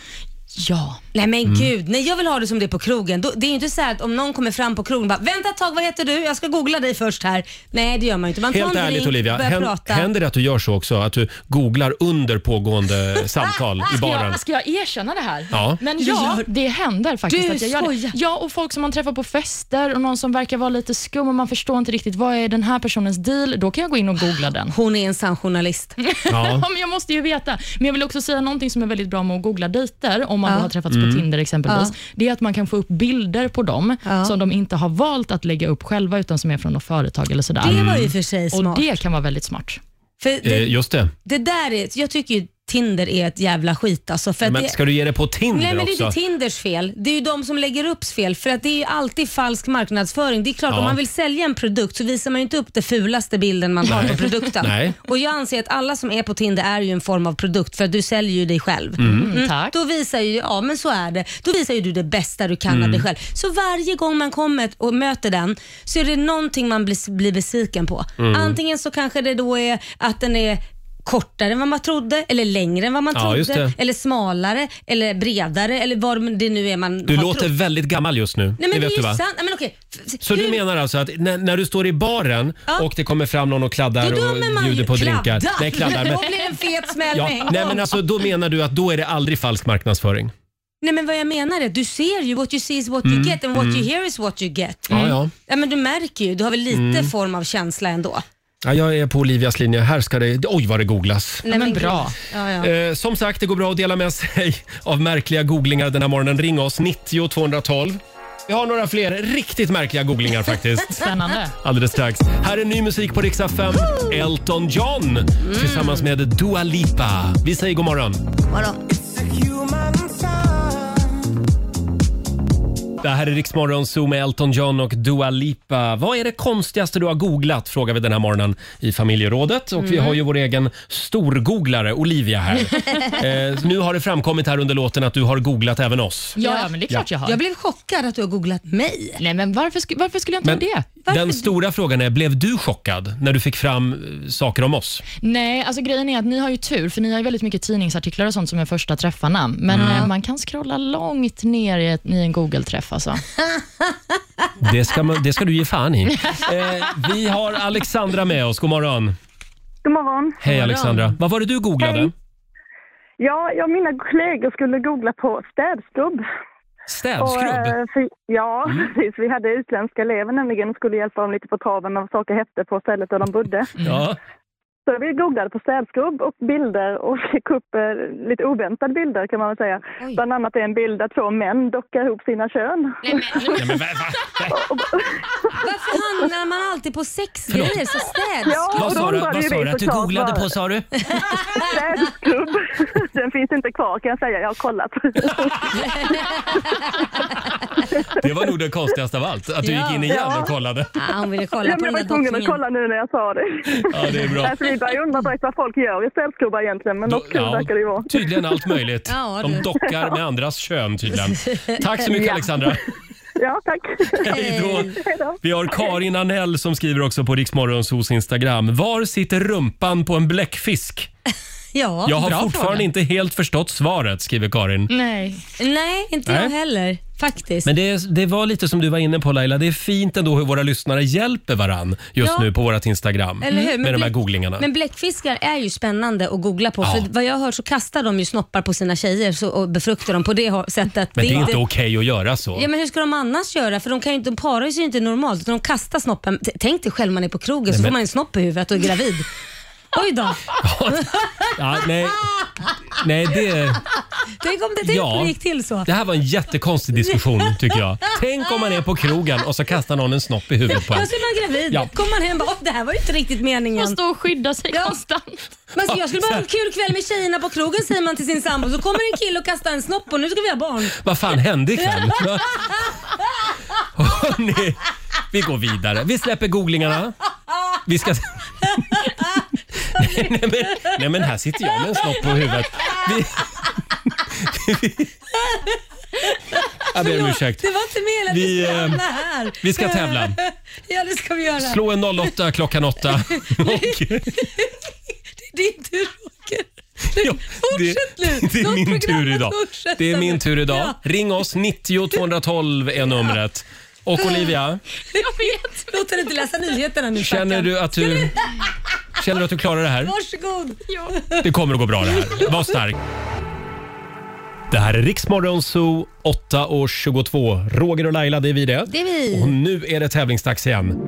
S3: Ja.
S2: Nej men
S1: Mm.
S2: gud, nej jag vill ha det som det är på krogen. Då, det är ju inte så här att om någon kommer fram på krogen och bara “vänta ett tag, vad heter du? Jag ska googla dig först här”. Nej det gör man ju inte. Man
S1: Helt
S2: tar en
S1: ärligt
S2: drink,
S1: Olivia,
S2: börjar
S1: hän-
S2: prata.
S1: händer det att du gör så också? Att du googlar under pågående samtal i
S3: Ska
S1: baren?
S3: jag, ska jag erkänna det här?
S1: Ja.
S3: Men
S1: Du
S3: ja,
S1: gör-
S3: det händer faktiskt
S2: Du
S3: att jag gör det.
S2: skojar.
S3: Ja, och folk som man träffar på fester och någon som verkar vara lite skum och man förstår inte riktigt vad är den här personens deal. Då kan jag gå in och googla den.
S2: Hon är en sann journalist.
S3: Ja. men jag måste ju veta. Men jag vill också säga någonting som är väldigt bra med att googla dejter, om man
S2: Ja.
S3: då har träffats
S2: Mm.
S3: på Tinder exempelvis.
S2: Ja.
S3: Det är att man kan få upp bilder på dem som de inte har valt att lägga upp själva, utan som är från något företag eller sådär.
S2: Det var ju i och för sig
S3: Mm. Och
S2: smart.
S3: det kan vara väldigt smart.
S2: För det,
S1: Eh, Just det.
S2: det där är, jag tycker ju Tinder är ett jävla skit alltså. För att
S1: Men
S2: det-
S1: ska du ge det på Tinder
S2: Nej men det är
S1: också?
S2: inte Tinders fel. Det är ju de som lägger upps fel för att det är ju alltid falsk marknadsföring. Det är klart
S1: Ja.
S2: om man vill sälja en produkt så visar man ju inte upp den fulaste bilden man har
S1: Nej.
S2: på produkten.
S1: Nej.
S2: Och jag anser att alla som är på Tinder är ju en form av produkt för att du säljer ju dig själv.
S1: Mm.
S2: Då visar ju, ja men så är det. Då visar ju du det bästa du kan
S1: Mm.
S2: av dig själv. Så varje gång man kommer och möter den så är det någonting man blir, blir besviken på.
S12: Mm.
S2: Antingen så kanske det då är att den är kortare än vad man trodde eller längre än vad man
S1: Ja,
S2: trodde
S1: just det.
S2: eller smalare eller bredare eller vad det nu är man
S1: Du
S2: har
S1: låter
S2: trott.
S1: väldigt gammal just nu.
S2: Nej men
S1: det
S2: det,
S1: vet du
S2: är ju
S1: va?
S2: sant. Nej, men okej. F-
S1: Så du
S2: hur-
S1: menar alltså att när, när du står i baren
S2: Ja.
S1: och det kommer fram någon och kladdar
S2: Då dömer
S1: och
S2: man
S1: bjuder
S2: ju
S1: på
S2: kladdar.
S1: drinkar? Nej, kladdar. Men,
S2: Då blir det en fet smäll
S1: ja,
S2: med en
S1: nej,
S2: gång.
S1: men alltså, då menar du att då är det aldrig falsk marknadsföring?
S2: Nej men vad jag menar är att du ser ju what you see is what you
S1: Mm,
S2: get and what
S1: mm.
S2: you hear is what you get.
S1: Ja, ja.
S2: ja men du märker ju, du har väl lite
S1: Mm.
S2: form av känsla ändå.
S1: Ja, jag är på Olivias linje. Här ska det... Oj, vad det googlas.
S2: Nej, men bra. Ja, ja.
S1: Eh, som sagt, det går bra att dela med sig av märkliga googlingar den här morgonen. Ring oss, 90 212. Vi har några fler riktigt märkliga googlingar faktiskt.
S3: Spännande.
S1: Alldeles strax. Här är ny musik på riksdag 5. Elton John tillsammans med Dua Lipa. Vi säger god morgon.
S2: Vadå?
S1: Det här är Riksmorgon Zoo med Elton John och Dua Lipa. Vad är det konstigaste du har googlat? Frågar vi den här morgonen i familjerådet. Och vi
S13: Mm.
S1: har ju vår egen storgooglare Olivia här. eh, nu har det framkommit här under låten att du har googlat även oss.
S3: Ja, ja, men det är klart jag har.
S2: Jag blev chockad att du har googlat mig.
S3: Nej, men varför, sku- varför skulle jag inte
S1: Men
S3: ha det?
S1: den stora frågan är, blev du chockad när du fick fram eh, saker om oss?
S3: Nej, alltså grejen är att ni har ju tur, för ni har ju väldigt mycket tidningsartiklar och sånt som är första träffarna. Men
S1: Mm.
S3: eh, man kan scrolla långt ner i, ett, i en Google-träff alltså.
S1: Det ska, man, det ska du ge fan i. Eh, vi har Alexandra med oss. God morgon.
S11: God morgon.
S1: Hej Alexandra. Vad var det du googlade?
S11: Hej. Ja, jag och mina kollegor skulle googla på städskrubb.
S1: Städskrubb?
S11: Och, eh, för, ja, precis. Vi hade utländska elever nämligen och skulle hjälpa dem lite på traven med vad saker hette på stället där de bodde.
S1: Ja.
S11: Så vi googlade på städskrubb och bilder och fick upp eh, lite oväntade bilder kan man väl säga. Bland annat en bild där två män dockar ihop sina kön.
S1: Nej, men, va, va? Ah.
S2: Varför handlar man alltid på sexgrejer? Så städskrubb?
S11: Ja, och
S1: Vad
S11: då
S1: sa du,
S11: undrar
S1: vad
S11: ju
S1: sa
S11: vi
S1: du att du
S11: såklart
S1: googlade
S11: vad-
S1: på sa du?
S11: Städskrubb. Den finns inte kvar kan jag säga, jag har kollat.
S1: Det var nog det konstigaste av allt, att du gick in igen
S11: Ja.
S1: och kollade.
S2: hon ville
S1: kolla
S11: ja,
S1: på den
S11: men Jag
S1: där
S11: var tvungen att
S1: dockningen.
S11: kolla nu när jag sa det.
S1: Ja, det är bra.
S11: Alltså, vi börjar ju undra direkt vad folk gör i städskrubbare egentligen, men något kul
S1: Ja,
S11: verkar det ju vara.
S1: Tydligen allt möjligt.
S11: Ja,
S1: De
S11: du.
S1: dockar med andras kön tydligen. Tack så mycket
S11: Ja.
S1: Alexandra.
S11: Ja, tack.
S1: Hej då.
S11: Hej då.
S1: Vi har Karin Anell som skriver också på Riksmorgonsos Instagram. Var sitter rumpan på en bläckfisk?
S2: Ja,
S1: Jag
S2: bra
S1: har fortfarande
S2: fråga.
S1: inte helt förstått svaret, skriver Karin.
S3: Nej.
S2: Nej, inte jag
S1: Nej.
S2: heller faktiskt.
S1: Men det, det var lite som du var inne på Laila, det är fint ändå hur våra lyssnare hjälper varann just
S2: Ja.
S1: nu på vårt Instagram
S2: Eller hur? Men
S1: med de här
S2: bläck-
S1: googlingarna.
S2: Men bläckfiskar är ju spännande att googla på. För vad jag har hört så kastar de ju snoppar på sina tjejer så, och befruktar dem på det ho- sättet.
S1: Men det är inte okej att göra så.
S2: Ja men hur ska de annars göra? För de, kan ju inte, de parar sig ju inte normalt utan de kastar snoppen. T- Tänk dig själv man är på krogen
S1: Nej,
S2: så
S1: men-
S2: får man en snopp i huvudet och är gravid. Oj då.
S1: Ja, nej, nej det,
S2: Tänk om det, tänk
S1: Ja.
S2: om det gick till så.
S1: det här var en jättekonstig diskussion tycker jag. Tänk om man är på krogen och så kastar någon en snopp i huvudet på en.
S2: Ja, så är man gravid.
S1: Ja.
S2: Kommer man hem och bara, "Åh, det här var ju inte riktigt meningen. Man
S3: står och skyddar sig konstant.
S2: Man ska, jag skulle bara ha en kul kväll med tjejerna på krogen säger man till sin sambo. Så kommer en kille och kastar en snopp och nu ska vi ha barn.
S1: Vad fan hände ikväll? Va? Hörrni, vi går vidare. Vi släpper googlingarna. Vi ska... nej, men, nej men här sitter jag med en snopp på huvudet. Vi... jag ber om
S2: Förlåt,
S1: ursäkt.
S2: Det var inte meningen att
S1: Vi,
S2: vi, skulle
S1: eh,
S2: hamna här.
S1: vi ska tävla.
S2: Ja, det ska vi göra.
S1: Slå en 08 klockan 8.
S2: Det är inte Roger. Fortsätt nu.
S1: Det är
S2: Låt
S1: min tur
S2: programmet
S1: idag.
S2: fortsätta
S1: Det är min
S2: nu.
S1: tur idag.
S2: Ja.
S1: Ring oss, 90 212 är numret. Och Olivia,
S2: Jag vet. Låt henne inte läsa nyheterna nu.
S1: känner du att du, känner du, att du klarar det här?
S2: Varsågod. Ja.
S1: Det kommer att gå bra det här. Var stark. Det här är Riksmorgon Zoo, 8 år 22. Roger och Laila, det är vi det.
S2: Det är vi.
S1: Och nu är det tävlingsdags igen.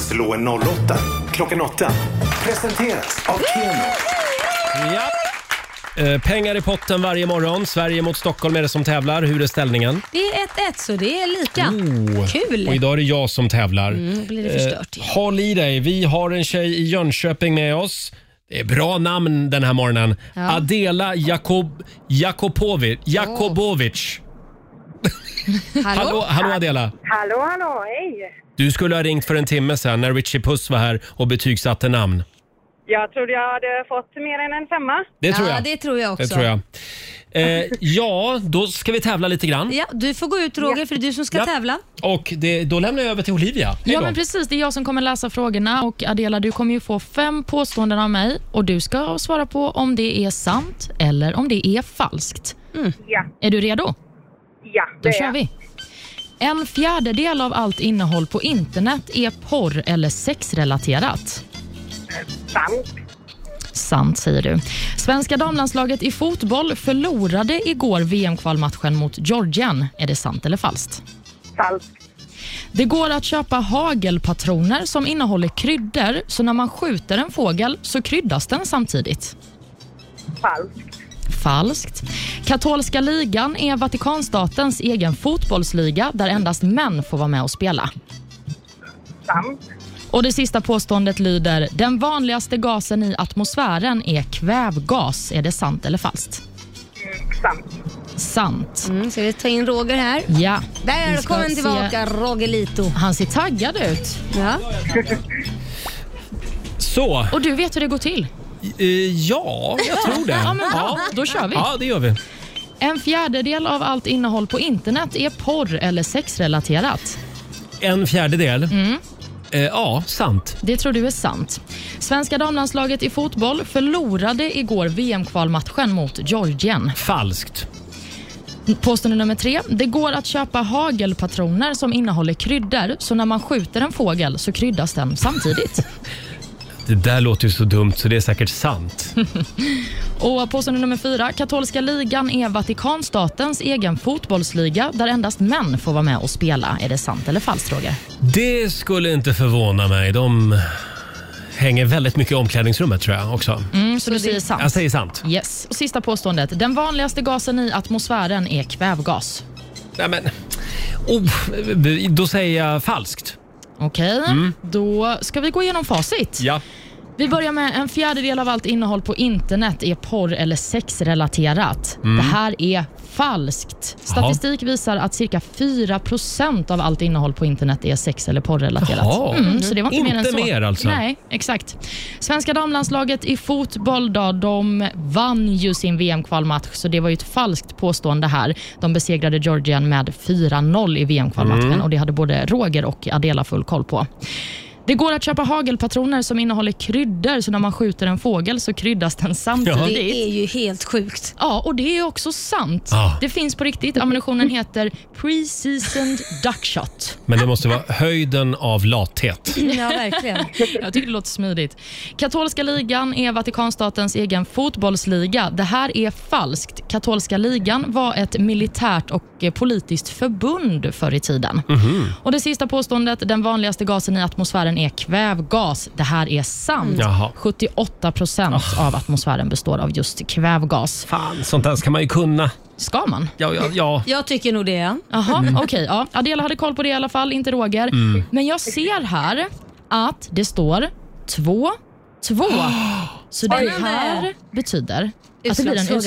S4: Slå en 08 klockan 8. Presenteras av Keno.
S1: Ja. Eh, pengar i potten varje morgon. Sverige mot Stockholm är det som tävlar. Hur är ställningen?
S2: Det är 1-1 så det är lika.
S1: Oh.
S2: Kul!
S1: Och idag är det jag som tävlar.
S2: Mm, blir det förstört
S1: eh, håll i dig. Vi har en tjej i Jönköping med oss. Det är bra namn den här morgonen.
S2: Ja.
S1: Adela Jakob, Jakobovic. Jakobovic. Hallå? hallå, Adela.
S12: Hallå, hallå, hej!
S1: Du skulle ha ringt för en timme sedan när Richie Puss var här och betygsatte namn.
S12: Jag trodde jag hade fått mer än en femma.
S1: Det tror jag. Det tror jag. Eh, ja, då ska vi tävla lite grann.
S2: Ja, du får gå ut Roger för det är du som ska
S1: Ja.
S2: tävla.
S1: Och det, då lämnar jag över till Olivia. Hej
S3: Ja,
S1: då.
S3: men precis. Det är jag som kommer läsa frågorna. Och Adela, du kommer ju få fem påståenden av mig och du ska svara på om det är sant eller om det är falskt.
S12: Ja.
S3: Är du redo?
S12: Ja,
S3: Då
S12: det
S3: kör vi. En fjärdedel av allt innehåll på internet är porr eller sexrelaterat.
S12: Sant.
S3: Sant, säger du. Svenska damlandslaget i fotboll förlorade igår VM-kvalmatchen mot Georgien. Är det sant eller falskt?
S12: Falskt.
S3: Det går att köpa hagelpatroner som innehåller kryddor, så när man skjuter en fågel så kryddas den samtidigt.
S12: Falskt.
S3: Falskt. Katolska ligan är Vatikanstatens egen fotbollsliga där endast män får vara med och spela.
S12: Sant.
S3: Och Det sista påståendet lyder den vanligaste gasen i atmosfären är kvävgas. Är det sant eller falskt? Sant. Sant.
S2: Mm, ska vi ta in Roger här?
S3: Ja.
S2: Där
S3: Vi ska
S2: kom han
S3: se-
S2: tillbaka, Rogelito.
S3: Han ser taggad ut.
S2: Ja.
S1: Så,
S3: Och du vet hur det går till?
S1: eh, ja, jag tror det.
S3: Ja, men bra. Då kör vi.
S1: Ja, det gör vi.
S3: En fjärdedel av allt innehåll på internet är porr eller sexrelaterat.
S1: En fjärdedel. Eh, ja, sant.
S3: Det tror du är sant. Svenska damlandslaget i fotboll förlorade igår VM-kvalmatchen mot Georgien.
S1: Falskt.
S3: Påstående nummer tre. Det går att köpa hagelpatroner som innehåller kryddor, så när man skjuter en fågel så kryddas den samtidigt.
S1: Det där låter ju så dumt så det är säkert sant.
S3: Och påstående nummer fyra. Katolska ligan är Vatikanstatens egen fotbollsliga där endast män får vara med och spela. Är det sant eller falskt, Roger?
S1: Det skulle inte förvåna mig. De hänger väldigt mycket i omklädningsrummet tror jag också.
S3: Mm, så, du säger sant?
S1: Jag säger sant.
S3: Yes. Och sista påståendet. Den vanligaste gasen i atmosfären är kvävgas.
S1: Nej, men. Oh, då säger jag falskt.
S3: Okej,
S1: Mm.
S3: då ska vi gå igenom facit.
S1: Ja.
S3: Vi börjar med en fjärdedel av allt innehåll på internet är porr eller sexrelaterat.
S13: Mm.
S3: Det här är falskt. Statistik visar att cirka 4 av allt innehåll på internet är sex eller
S13: Jaha.
S3: porrrelaterat. Mm, så det var inte, mer än
S13: Inte
S3: så.
S13: mer alltså?
S3: Nej, exakt. Svenska damlandslaget i fotboll då, de vann ju sin VM-kvalmatch, så det var ju ett falskt påstående här. De besegrade Georgien med 4-0 i VM-kvalmatchen
S13: Mm.
S3: och det hade både Roger och Adela full koll på. Det går att köpa hagelpatroner som innehåller kryddor, så när man skjuter en fågel så kryddas den samtidigt.
S2: Det är ju helt sjukt.
S3: Ja, och det är också sant.
S1: Ja.
S3: Det finns på riktigt. Ammunitionen heter pre-seasoned duckshot.
S1: Men det måste vara höjden av lathet.
S2: Ja, verkligen.
S3: Jag tycker det låter smidigt. Katolska ligan är Vatikanstatens egen fotbollsliga. Det här är falskt. Katolska ligan var ett militärt och eh, politiskt förbund förr i tiden. Och Det sista påståendet, den vanligaste gasen i atmosfären är kvävgas. Det här är sant.
S1: Mm. Jaha.
S3: 78 procent av atmosfären består av just kvävgas.
S1: Fan, Sånt där ska man ju kunna.
S3: Ska man?
S1: Ja, ja, ja.
S3: Jag tycker nog det. ja. Jaha,
S1: Mm.
S3: okej. ja. Adela hade koll på det i alla fall, inte Roger.
S1: Mm.
S3: Men jag ser här att det står 2-2. Så det
S2: Spännande.
S3: här betyder att det blir en
S2: Utslagsfråga.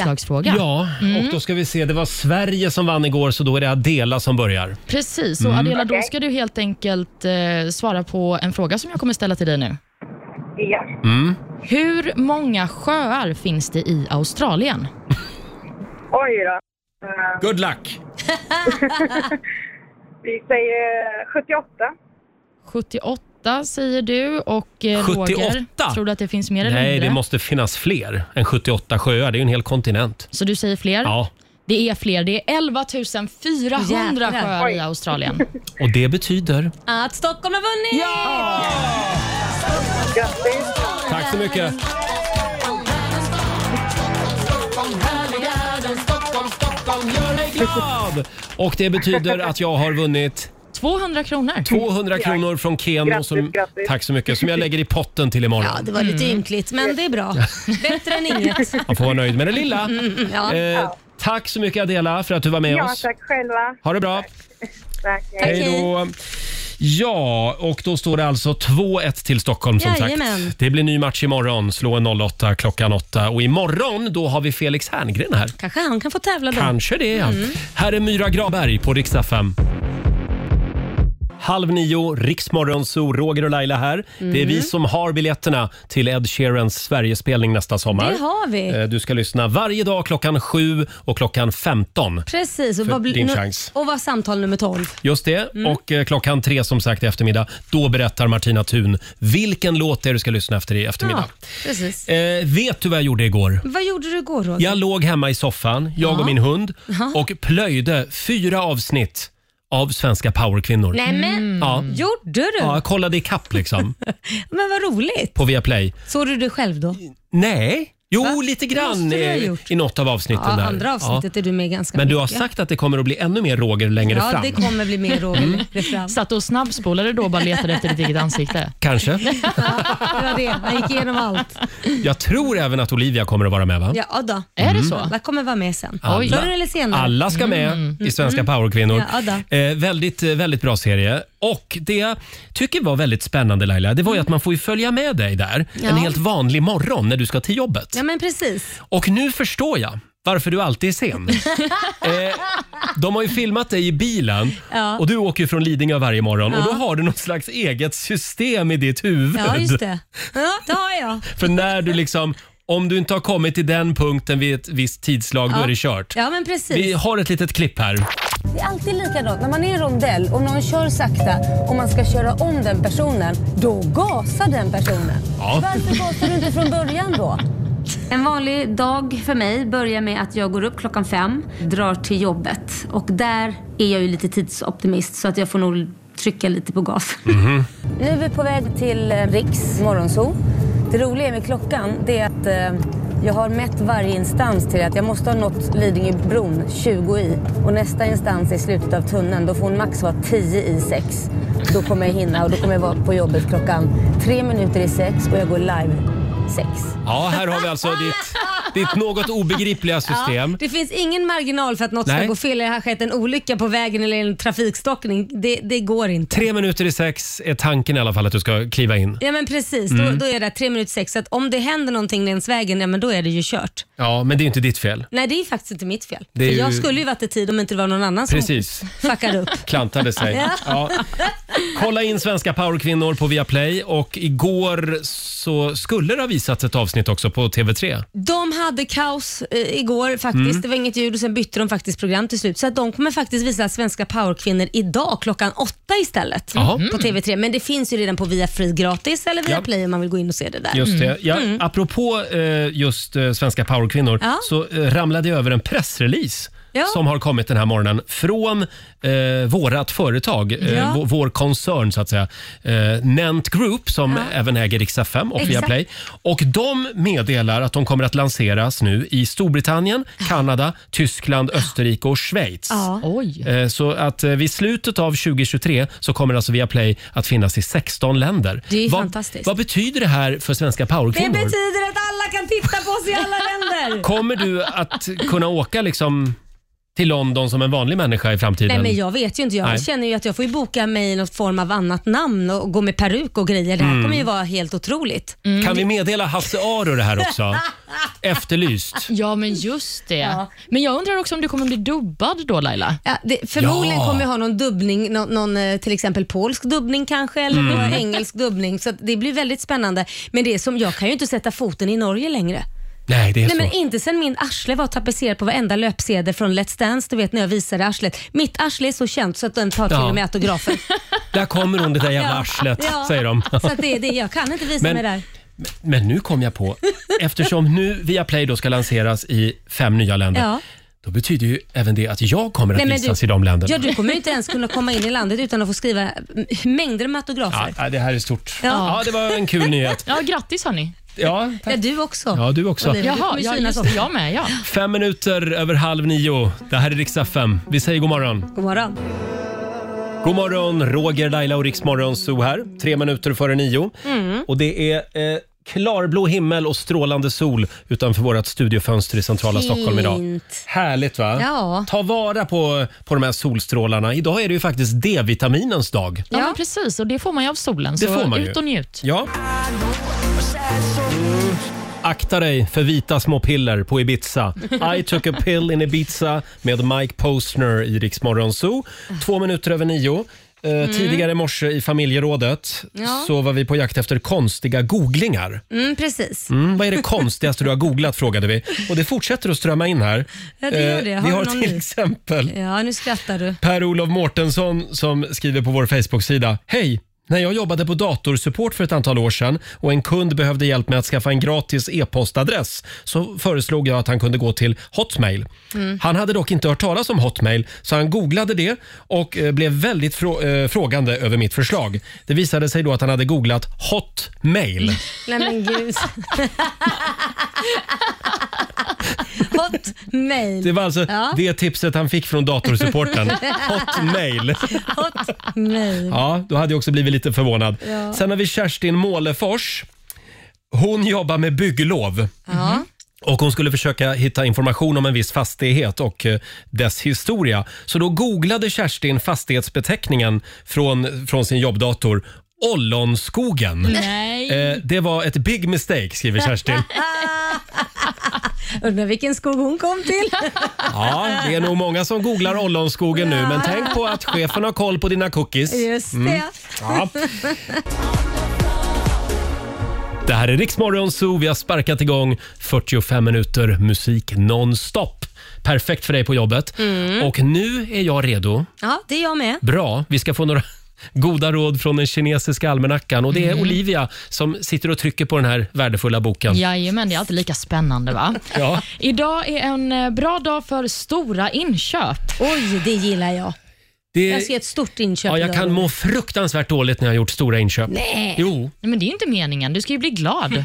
S3: utslagsfråga.
S1: Ja,
S3: Mm.
S1: och då ska vi se. Det var Sverige som vann igår så då är det Adela som börjar.
S3: Precis, och
S1: Mm.
S3: Adela, då ska du helt enkelt eh, svara på en fråga som jag kommer ställa till dig nu.
S12: Ja.
S1: Mm.
S3: Hur många sjöar finns det i Australien?
S12: Oj då. Eh,
S1: Good luck!
S12: Vi säger 78.
S3: 78 säger du och eh,
S1: 78?
S3: Roger, tror du att det finns mer eller
S1: Nej,
S3: mindre?
S1: det måste finnas fler än 78 sjöar. Det är ju en hel kontinent.
S3: Så du säger fler?
S1: Ja,
S3: Det är fler. Det är 11 400
S2: Jäklar.
S3: sjöar
S2: Oj.
S3: i Australien.
S1: och det betyder...
S2: Att Stockholm har vunnit!
S1: Tack så mycket! Och det betyder att jag har vunnit
S3: 200 kronor.
S1: 200 kronor från Keno.
S3: Grattis,
S1: Som,
S3: grattis.
S1: tack så mycket. Som jag lägger i potten till imorgon.
S2: Ja, det var
S1: Mm.
S2: lite ynkligt, men det är bra. Bättre än inget.
S1: Man får vara nöjd med det lilla.
S2: Mm, ja.
S1: Eh, tack så mycket Adela för att du var med
S12: Ja,
S1: oss.
S12: tack själva.
S1: Ha det bra.
S12: Tack.
S1: Hej då. Ja, och då står det alltså 2-1 till Stockholm som
S12: Jajamän.
S1: sagt. Det blir ny match imorgon. Slå en 08 klockan 8. Och imorgon då har vi Felix Herngren här.
S2: Kanske han kan få tävla då.
S1: Kanske det. ja.
S2: Mm.
S1: Här är Myra Graberg på riksdag 5. Halv nio, Riksmorgon, så Roger och Laila här. Det är
S2: Mm.
S1: vi som har biljetterna till Ed Sheerans Sverigespelning nästa sommar.
S2: Det har vi.
S1: Eh, Du ska lyssna varje dag klockan 7 och klockan 15.
S2: Precis. Och
S1: För
S2: vad, blir-
S1: din
S2: nu-
S1: chans.
S2: och vad samtal nummer 12.
S1: Just det.
S2: Mm.
S1: Och eh, klockan tre som sagt i eftermiddag, då berättar Martina Thun vilken låt det är du ska lyssna efter i eftermiddag.
S2: Ja, precis.
S1: Eh, vet du vad jag gjorde igår?
S2: Vad gjorde du igår Roger?
S1: Jag låg hemma i soffan, jag
S2: Ja.
S1: och min hund,
S2: Ja.
S1: och plöjde fyra avsnitt av Svenska powerkvinnor.
S2: Nej, men- Mm.
S1: Ja.
S2: Gjorde du?
S1: Ja, jag kollade i kapp liksom,
S2: Men vad roligt.
S1: på Viaplay.
S2: Såg du det själv då?
S1: Nej, jo lite grann
S2: måste du ha
S1: i,
S2: gjort.
S1: i något av avsnitten
S2: Ja,
S1: där.
S2: andra avsnittet är du med ganska
S1: Men du har
S2: mycket.
S1: sagt att det kommer att bli ännu mer Roger längre
S2: ja,
S1: fram.
S2: det kommer bli mer Roger
S1: Mm.
S2: längre fram.
S3: Satt du och snabbspolade då och bara letade efter ditt eget ansikte?
S1: Kanske.
S2: Det var det. Han gick igenom allt.
S1: Jag tror även att Olivia kommer att vara med va?
S2: Ja då.
S1: Är det så?
S2: Jag kommer vara med sen.
S1: Alla-
S2: Förr eller senare.
S1: Alla ska med
S2: Mm.
S1: i Svenska
S2: Mm.
S1: powerkvinnor.
S2: Ja, Ada.
S1: eh, väldigt, eh, väldigt bra serie. Och det jag tycker var väldigt spännande Laila, det var ju att man får ju följa med dig där
S2: Ja.
S1: en helt vanlig morgon när du ska till jobbet.
S2: Ja men precis.
S1: Och nu förstår jag varför du alltid är sen. eh, de har ju filmat dig i bilen
S2: Ja.
S1: och du åker ju från Lidingö varje morgon och
S2: Ja.
S1: då har du något slags eget system i ditt huvud.
S2: Ja just det. Ja, det har jag.
S1: För när du liksom, om du inte har kommit till den punkten vid ett visst tidslag, då
S2: Ja.
S1: är det kört.
S2: Ja men precis.
S1: Vi har ett litet klipp här.
S13: Det är alltid likadant. När man är i en rondell och någon kör sakta och man ska köra om den personen, då gasar den personen.
S1: Ja.
S13: Varför gasar du inte från början då? En vanlig dag för mig börjar med att jag går upp klockan fem, drar till jobbet. Och där är jag ju lite tidsoptimist så att jag får nog trycka lite på gas. Nu är vi på väg till eh, Riks morgonzoo. Det roliga med klockan det är att eh, jag har mätt varje instans till att jag måste ha nått Lidingöbron 20 i. Och nästa instans är slutet av tunneln. Då får hon max vara 10 i 6. Då kommer jag hinna och då kommer jag vara på jobbet klockan tre minuter i sex och jag går live sex.
S1: Ja, här har vi alltså ditt, ditt något obegripliga system.
S2: Ja, det finns ingen marginal för att något
S1: Nej.
S2: ska gå fel. Det har skett en olycka på vägen eller en trafikstockning. Det, det går inte.
S1: Tre minuter i sex är tanken i alla fall att du ska kliva in.
S2: Ja men precis,
S1: Mm.
S2: då, då är det tre minuter sex. Så att om det händer någonting längs vägen, ja, men då är det ju kört.
S1: Ja, men det är ju inte ditt fel.
S2: Nej det är faktiskt inte mitt fel.
S1: Det är
S2: För jag
S1: ju-
S2: skulle ju varit i tid om inte det var någon annan
S1: Precis.
S2: som fuckade upp.
S1: Klantade sig.
S2: Ja.
S1: Ja. Kolla in Svenska powerkvinnor på Viaplay och igår så skulle det ha visats ett avsnitt också på TV3.
S2: De hade kaos eh, igår faktiskt.
S1: Mm.
S2: Det var inget ljud och sen bytte de faktiskt program till slut. Så att de kommer faktiskt visa svenska powerkvinnor idag klockan åtta istället
S1: Jaha. Mm.
S2: på TV3. Men det finns ju redan på via Free gratis eller via
S1: Ja.
S2: Play om man vill gå in och se det där.
S1: Just det. Ja,
S2: Mm.
S1: Apropå eh, just eh, svenska powerkvinnor
S2: Ja.
S1: så eh, ramlade jag över en pressrelease
S2: Ja.
S1: som har kommit den här morgonen från eh, vårat företag, eh,
S2: Ja.
S1: vår, vår koncern så att säga. Eh, Nent Group som även äger Riksa 5 och
S2: Exakt.
S1: Viaplay. Och de meddelar att de kommer att lanseras nu i Storbritannien, Kanada, Tyskland, Österrike och Schweiz.
S2: Ja.
S3: Oj.
S1: Eh, Så att eh, vid slutet av 2023 så kommer alltså Viaplay att finnas i 16 länder.
S2: Det är ju
S1: vad,
S2: fantastiskt.
S1: Vad betyder det här för svenska
S2: Det
S1: powerkvinnor?
S2: betyder att alla kan titta på oss i alla länder.
S1: Kommer du att kunna åka liksom till London som en vanlig människa i framtiden?
S2: Nej men jag vet ju inte. Jag
S1: Nej.
S2: känner ju att jag får ju boka mig i något form av annat namn och gå med peruk och grejer. Det här
S1: Mm.
S2: kommer ju vara helt otroligt.
S1: Kan vi meddela Hasse Aro det här också? Efterlyst.
S3: Ja, men just det. Men jag undrar också om du kommer bli dubbad då Laila?
S2: Ja, det, förmodligen
S3: Ja.
S2: kommer jag ha någon dubbning, någon, någon eh, till exempel polsk dubbning kanske eller
S3: Mm.
S2: någon engelsk dubbning. Så att det blir väldigt spännande. Men det är som, jag kan ju inte sätta foten i Norge längre.
S1: Nej, det är
S2: Nej, men
S1: så.
S2: inte sen min arsle var tapetserad på varenda löpsedel från Let's Dance, du vet när jag visade arslet. Mitt arsle är så känt så att den tar till
S1: Ja.
S2: och med autografen.
S1: Där kommer hon, det där jävla
S2: Ja.
S1: arslet,
S2: Ja.
S1: säger de.
S2: Så att det, är det, jag kan inte visa
S1: Men-
S2: mig där.
S1: Men nu kom jag på, eftersom nu Viaplay då ska lanseras i fem nya länder,
S2: Ja.
S1: då betyder ju även det att jag kommer att
S2: Nej, men
S1: visas
S2: du,
S1: i de länderna.
S2: Ja, du kommer ju inte ens kunna komma in i landet utan att få skriva mm, mängder med autografer.
S1: Ja, det här är stort. Ja.
S2: Ja.
S1: det var en kul nyhet.
S3: Ja, grattis hörni.
S1: Ja,
S2: Ja, du också.
S1: Ja, du också.
S2: Olivia, du
S3: Jaha,
S2: kommer
S3: ja,
S2: synas
S3: just det,
S2: också.
S3: jag med. Ja.
S1: Fem minuter över halv nio. Det här är riksdag 5. Vi säger god morgon.
S2: God morgon.
S1: God morgon, Roger, Laila och Riksmorgon Zoo här. Tre minuter före nio.
S14: Mm.
S1: Och det är eh, klarblå himmel och strålande sol utanför vårt studiofönster i centrala
S2: Fint.
S1: Stockholm idag. Härligt va?
S2: Ja.
S1: Ta vara på, på de här solstrålarna. Idag är det ju faktiskt D-vitaminens dag.
S3: Ja, Men precis. Och det får man ju av solen.
S1: Det
S3: så
S1: får man ju.
S3: ut och njut.
S1: Ja. Mm. Akta dig för vita små piller på Ibiza. I took a pill in Ibiza med Mike Postner i Rix Morgon Zoo. Två minuter över nio. Eh,
S2: Mm.
S1: Tidigare i morse i familjerådet
S2: Ja.
S1: så var vi på jakt efter konstiga googlingar.
S2: Mm, precis.
S1: Mm, vad är det konstigaste du har googlat frågade vi. Och det fortsätter att strömma in här.
S2: Ja, det gör det.
S1: Eh,
S2: Har
S1: vi
S2: du
S1: har
S2: någon
S1: till
S2: ny?
S1: exempel
S2: Ja, nu skrattar du.
S1: Per-Olof Mårtensson som skriver på vår Facebook-sida. Hej! När jag jobbade på datorsupport för ett antal år sedan och en kund behövde hjälp med att skaffa en gratis e-postadress så föreslog jag att han kunde gå till Hotmail.
S15: Mm.
S1: Han hade dock inte hört talas om Hotmail så han googlade det och eh, blev väldigt frå- eh, frågande över mitt förslag. Det visade sig då att han hade googlat Hotmail.
S2: Nej men gud. Hot mail.
S1: Det var alltså
S2: Ja.
S1: det tipset han fick från datorsupporten. Hotmail.
S2: Hot mail.
S1: Ja, då hade jag också blivit lite förvånad.
S2: Mm. Ja.
S1: Sen har vi Kerstin Målefors. Hon jobbar med bygglov.
S2: Ja. Mm-hmm.
S1: Och hon skulle försöka hitta information om en viss fastighet och eh, dess historia. Så då googlade Kerstin fastighetsbeteckningen från, från sin jobbdator. Ollonskogen.
S2: Nej.
S1: Eh, det var ett big mistake, skriver Kerstin.
S2: Undrar vilken skog hon kom till.
S1: Ja, det är nog många som googlar ollonskogen nu, men tänk på att chefen har koll på dina cookies.
S2: Just det.
S1: Mm. Ja. Det här är Riksmorgon Zoo. Vi har sparkat igång 45 minuter musik nonstop. Perfekt för dig på jobbet.
S2: Mm.
S1: Och nu är jag redo.
S2: Ja, det är jag med.
S1: Bra, vi ska få några goda råd från den kinesiska almanackan. Och det är
S3: Mm.
S1: Olivia som sitter och trycker på den här värdefulla boken.
S3: Jajamän, det är alltid lika spännande va?
S1: Ja.
S3: Idag är en eh, bra dag för stora inköp.
S2: Oj, det gillar jag.
S1: Det-
S2: Jag ska göra ett stort inköp
S1: Eh, Ja, jag
S2: idag.
S1: kan må fruktansvärt dåligt när jag har gjort stora inköp.
S2: Nej.
S1: Jo.
S3: Nej, men det är ju inte meningen. Du ska ju bli glad.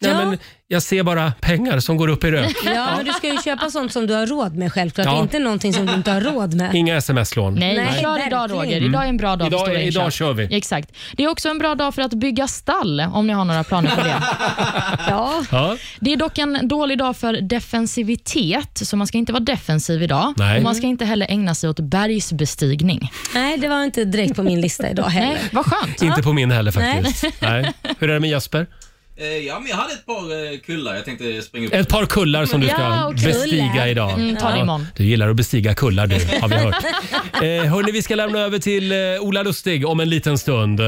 S1: Nej, men jag ser bara pengar som går upp i rök.
S2: Ja, men du ska ju köpa sånt som du har råd med självklart.
S1: Ja.
S2: Inte någonting som du inte har råd med.
S1: Inga sms-lån.
S3: Nej,
S2: Nej,
S3: kör idag
S2: verkligen.
S3: Roger. Idag är en bra dag
S1: Idag är-
S3: för stora inköp.
S1: idag kör vi.
S3: Exakt. Det är också en bra dag för att bygga stall, om ni har några planer på det. ja.
S1: Ja.
S3: Det är dock en dålig dag för defensivitet, så man ska inte vara defensiv idag.
S2: Nej.
S3: Och man ska inte heller ägna sig åt bergsbestigning.
S2: Nej, det var inte direkt på min lista idag heller.
S3: Nej, vad skönt.
S1: Inte på min heller faktiskt. Nej. Hur är det med Jesper?
S6: Eh, ja, men jag hade ett par eh, kullar jag tänkte springa upp.
S1: Ett par kullar som du ska
S6: Ja, och kullar.
S1: bestiga idag.
S6: Mm, ta det
S1: Ja,
S6: imorgon.
S1: Du gillar att bestiga kullar du, har vi hört. Eh, hörni, vi ska lämna över till eh, Ola Lustig om en liten stund.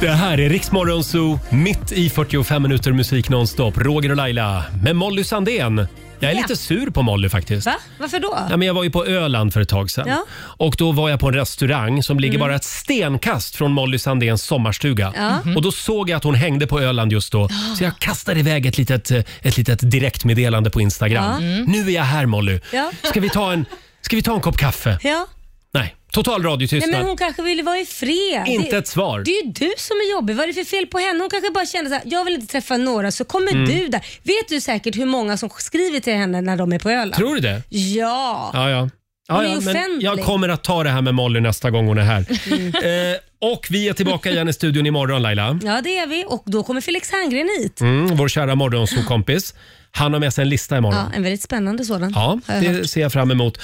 S1: Det här är Riksmorgon Zoo, mitt i 45 minuter musik nonstop. Roger och Laila med Molly Sandén. Jag är
S2: Ja.
S1: lite sur på Molly faktiskt.
S2: Va? Varför då?
S1: Ja, men jag var ju på Öland för ett tag sedan.
S2: Ja.
S1: Och då var jag på en restaurang som ligger
S2: Mm.
S1: bara ett stenkast från Molly Sandéns sommarstuga. Mm-hmm.
S2: Ja. Mhm.
S1: Och då såg jag att hon hängde på Öland just då. Så jag kastade iväg ett litet, eh, ett litet direktmeddelande på Instagram.
S2: Ja. Mm.
S1: Nu är jag här Molly.
S2: Ja.
S1: Ska vi ta en, ska vi ta en kopp kaffe?
S2: Ja.
S1: Nej, total
S2: Nej,
S1: radiotystnad.
S2: men hon kanske ville vara i fred.
S1: Inte
S2: Det-
S1: ett svar.
S2: Det är ju du som är jobbig. Vad är det för fel på henne? Hon kanske bara kände så här, jag vill inte träffa några så kommer
S1: Mm.
S2: du där. Vet du säkert hur många som skriver till henne när de är på Öland?
S1: Tror du det?
S2: Ja.
S1: Ja, ja.
S2: Hon
S1: Ja,
S2: är
S1: ja, men
S2: offentlig.
S1: jag kommer att ta det här med Molly nästa gång hon är här.
S2: Mm.
S1: Eh, och vi är tillbaka igen i studion imorgon Laila.
S2: Ja, det är vi och då kommer Felix Herngren hit.
S1: Mm, vår kära morgonsokompis. Han har med sig en lista imorgon.
S2: Ja, en väldigt spännande sådan.
S1: Ja,
S2: har jag hört.
S1: det ser jag fram emot.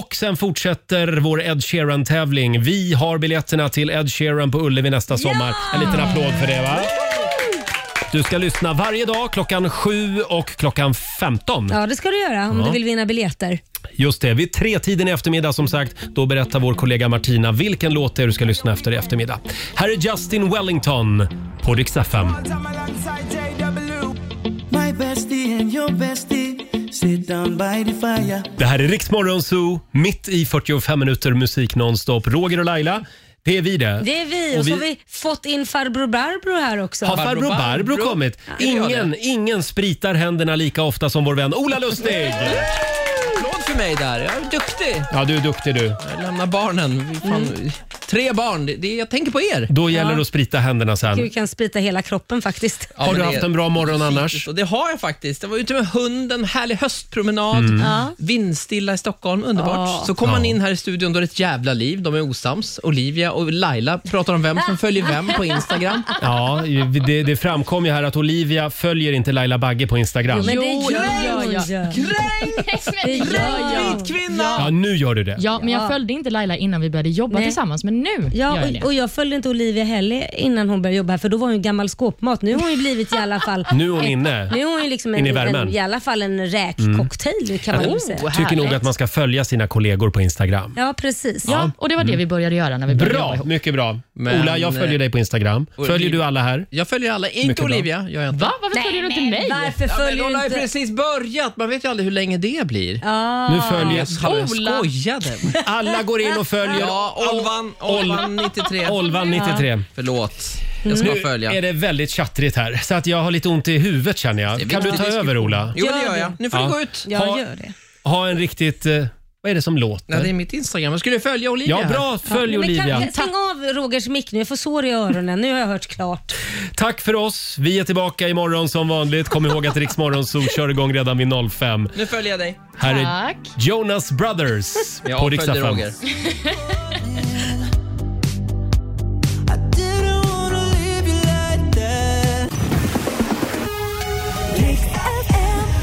S1: Och sen fortsätter vår Ed Sheeran-tävling. Vi har biljetterna till Ed Sheeran på Ullevi nästa sommar. En liten applåd för det va? Du ska lyssna varje dag klockan 7 och klockan 15.
S2: Ja, det ska du göra om
S1: Ja.
S2: du vill vinna biljetter.
S1: Just det, vid tretiden i eftermiddag som sagt. Då berättar vår kollega Martina vilken låt det är du ska lyssna efter i eftermiddag. Här är Justin Wellington på Rix FM.
S16: My bestie and your bestie sit down by the fire.
S1: Det här är Riksmorgon Zoo, mitt i 45 minuter musik nonstop. Roger och Laila, det är vi det.
S2: Det är vi och, så har vi fått in farbror Barbro här också.
S1: Har farbror Barbro kommit? Ingen, ingen spritar händerna lika ofta som vår vän Ola Lustig.
S17: Applåd för mig där. Jag är duktig.
S1: Ja, du är duktig du.
S16: Mm.
S17: Jag lämnar barnen. Fan,
S14: Tre barn, det, det, jag tänker på er.
S1: Då gäller det att sprita händerna
S2: Du
S1: sen.
S2: kan sprita hela kroppen faktiskt.
S1: Har du haft en bra morgon annars?
S14: Och det har jag faktiskt. Jag var ute med hunden, härlig höstpromenad,
S1: Mm. Ja.
S14: vindstilla i Stockholm, underbart.
S1: Ja.
S14: Så kommer man
S1: Ja.
S14: in här i studion, då är det ett jävla liv. De är osams. Olivia och Laila pratar om vem som följer vem på Instagram.
S1: Ja, det, det framkom ju här att Olivia följer inte Laila Bagge på Instagram.
S3: Det gör jag.
S1: Ja, nu gör du det.
S3: Ja, men jag följde inte Laila innan vi började jobba
S2: Nej.
S3: tillsammans, men nu gör
S2: Ja,
S3: jag det.
S2: och, och jag följde inte Olivia heller innan hon började jobba här för då var hon ju gammal skåpmat. Nu har hon ju blivit i alla fall...
S1: Nu är hon
S2: ett-
S1: inne.
S2: Nu är hon ju liksom en,
S1: Inne i
S2: i,
S1: värmen.
S2: en, i alla fall
S14: Mm.
S2: en räkcocktail kan man väl säga.
S14: Oh.
S1: Jag tycker nog att man ska följa sina kollegor på Instagram.
S2: Ja, precis.
S1: Ja,
S3: och det var det vi började göra när vi började jobba
S1: Bra,
S3: ihop.
S1: mycket bra.
S14: Men-
S1: Ola, jag följer dig på Instagram.
S14: Olivia-
S1: Följer du alla här?
S14: Jag följer alla, inte
S1: Mycket bra.
S14: Olivia. Gör jag inte.
S3: Va? Varför följer du inte mig?
S2: Varför
S14: Ja, men
S2: följer
S14: hon
S2: du
S14: har ju
S2: inte...
S14: precis börjat. Man vet ju aldrig hur länge det blir.
S2: Ah.
S1: Nu följer-
S14: jag. Jag
S1: Ola.
S14: skojade.
S1: Alla går in och följer.
S14: Ja, Olvan, Olvan 93.
S1: Olvan Mm. 93.
S14: Förlåt. Jag ska
S1: nu
S14: följa.
S1: är det väldigt chattrigt här, så att jag har lite ont i huvudet känner jag. Kan du ta över Ola?
S14: Jo, det gör jag. Nu får du
S1: Ja.
S14: gå ut.
S1: ha, Ha en riktigt... Eh, vad är det som låter?
S14: Ja, det är mitt Instagram. Jag skulle följa Olivia.
S1: Ja, bra. Följ
S2: Ja, men kan-
S1: Olivia.
S2: Stäng av Rogers mick nu, jag får sår i öronen. Nu har jag hört klart.
S1: Tack för oss. Vi är tillbaka imorgon som vanligt. Kom ihåg att Rix Morgonzoo kör igång redan vid 05.
S14: Nu följer jag dig.
S1: Här är Jonas Brothers
S14: Jag
S1: på
S14: följer
S1: Rix FM.
S14: Roger.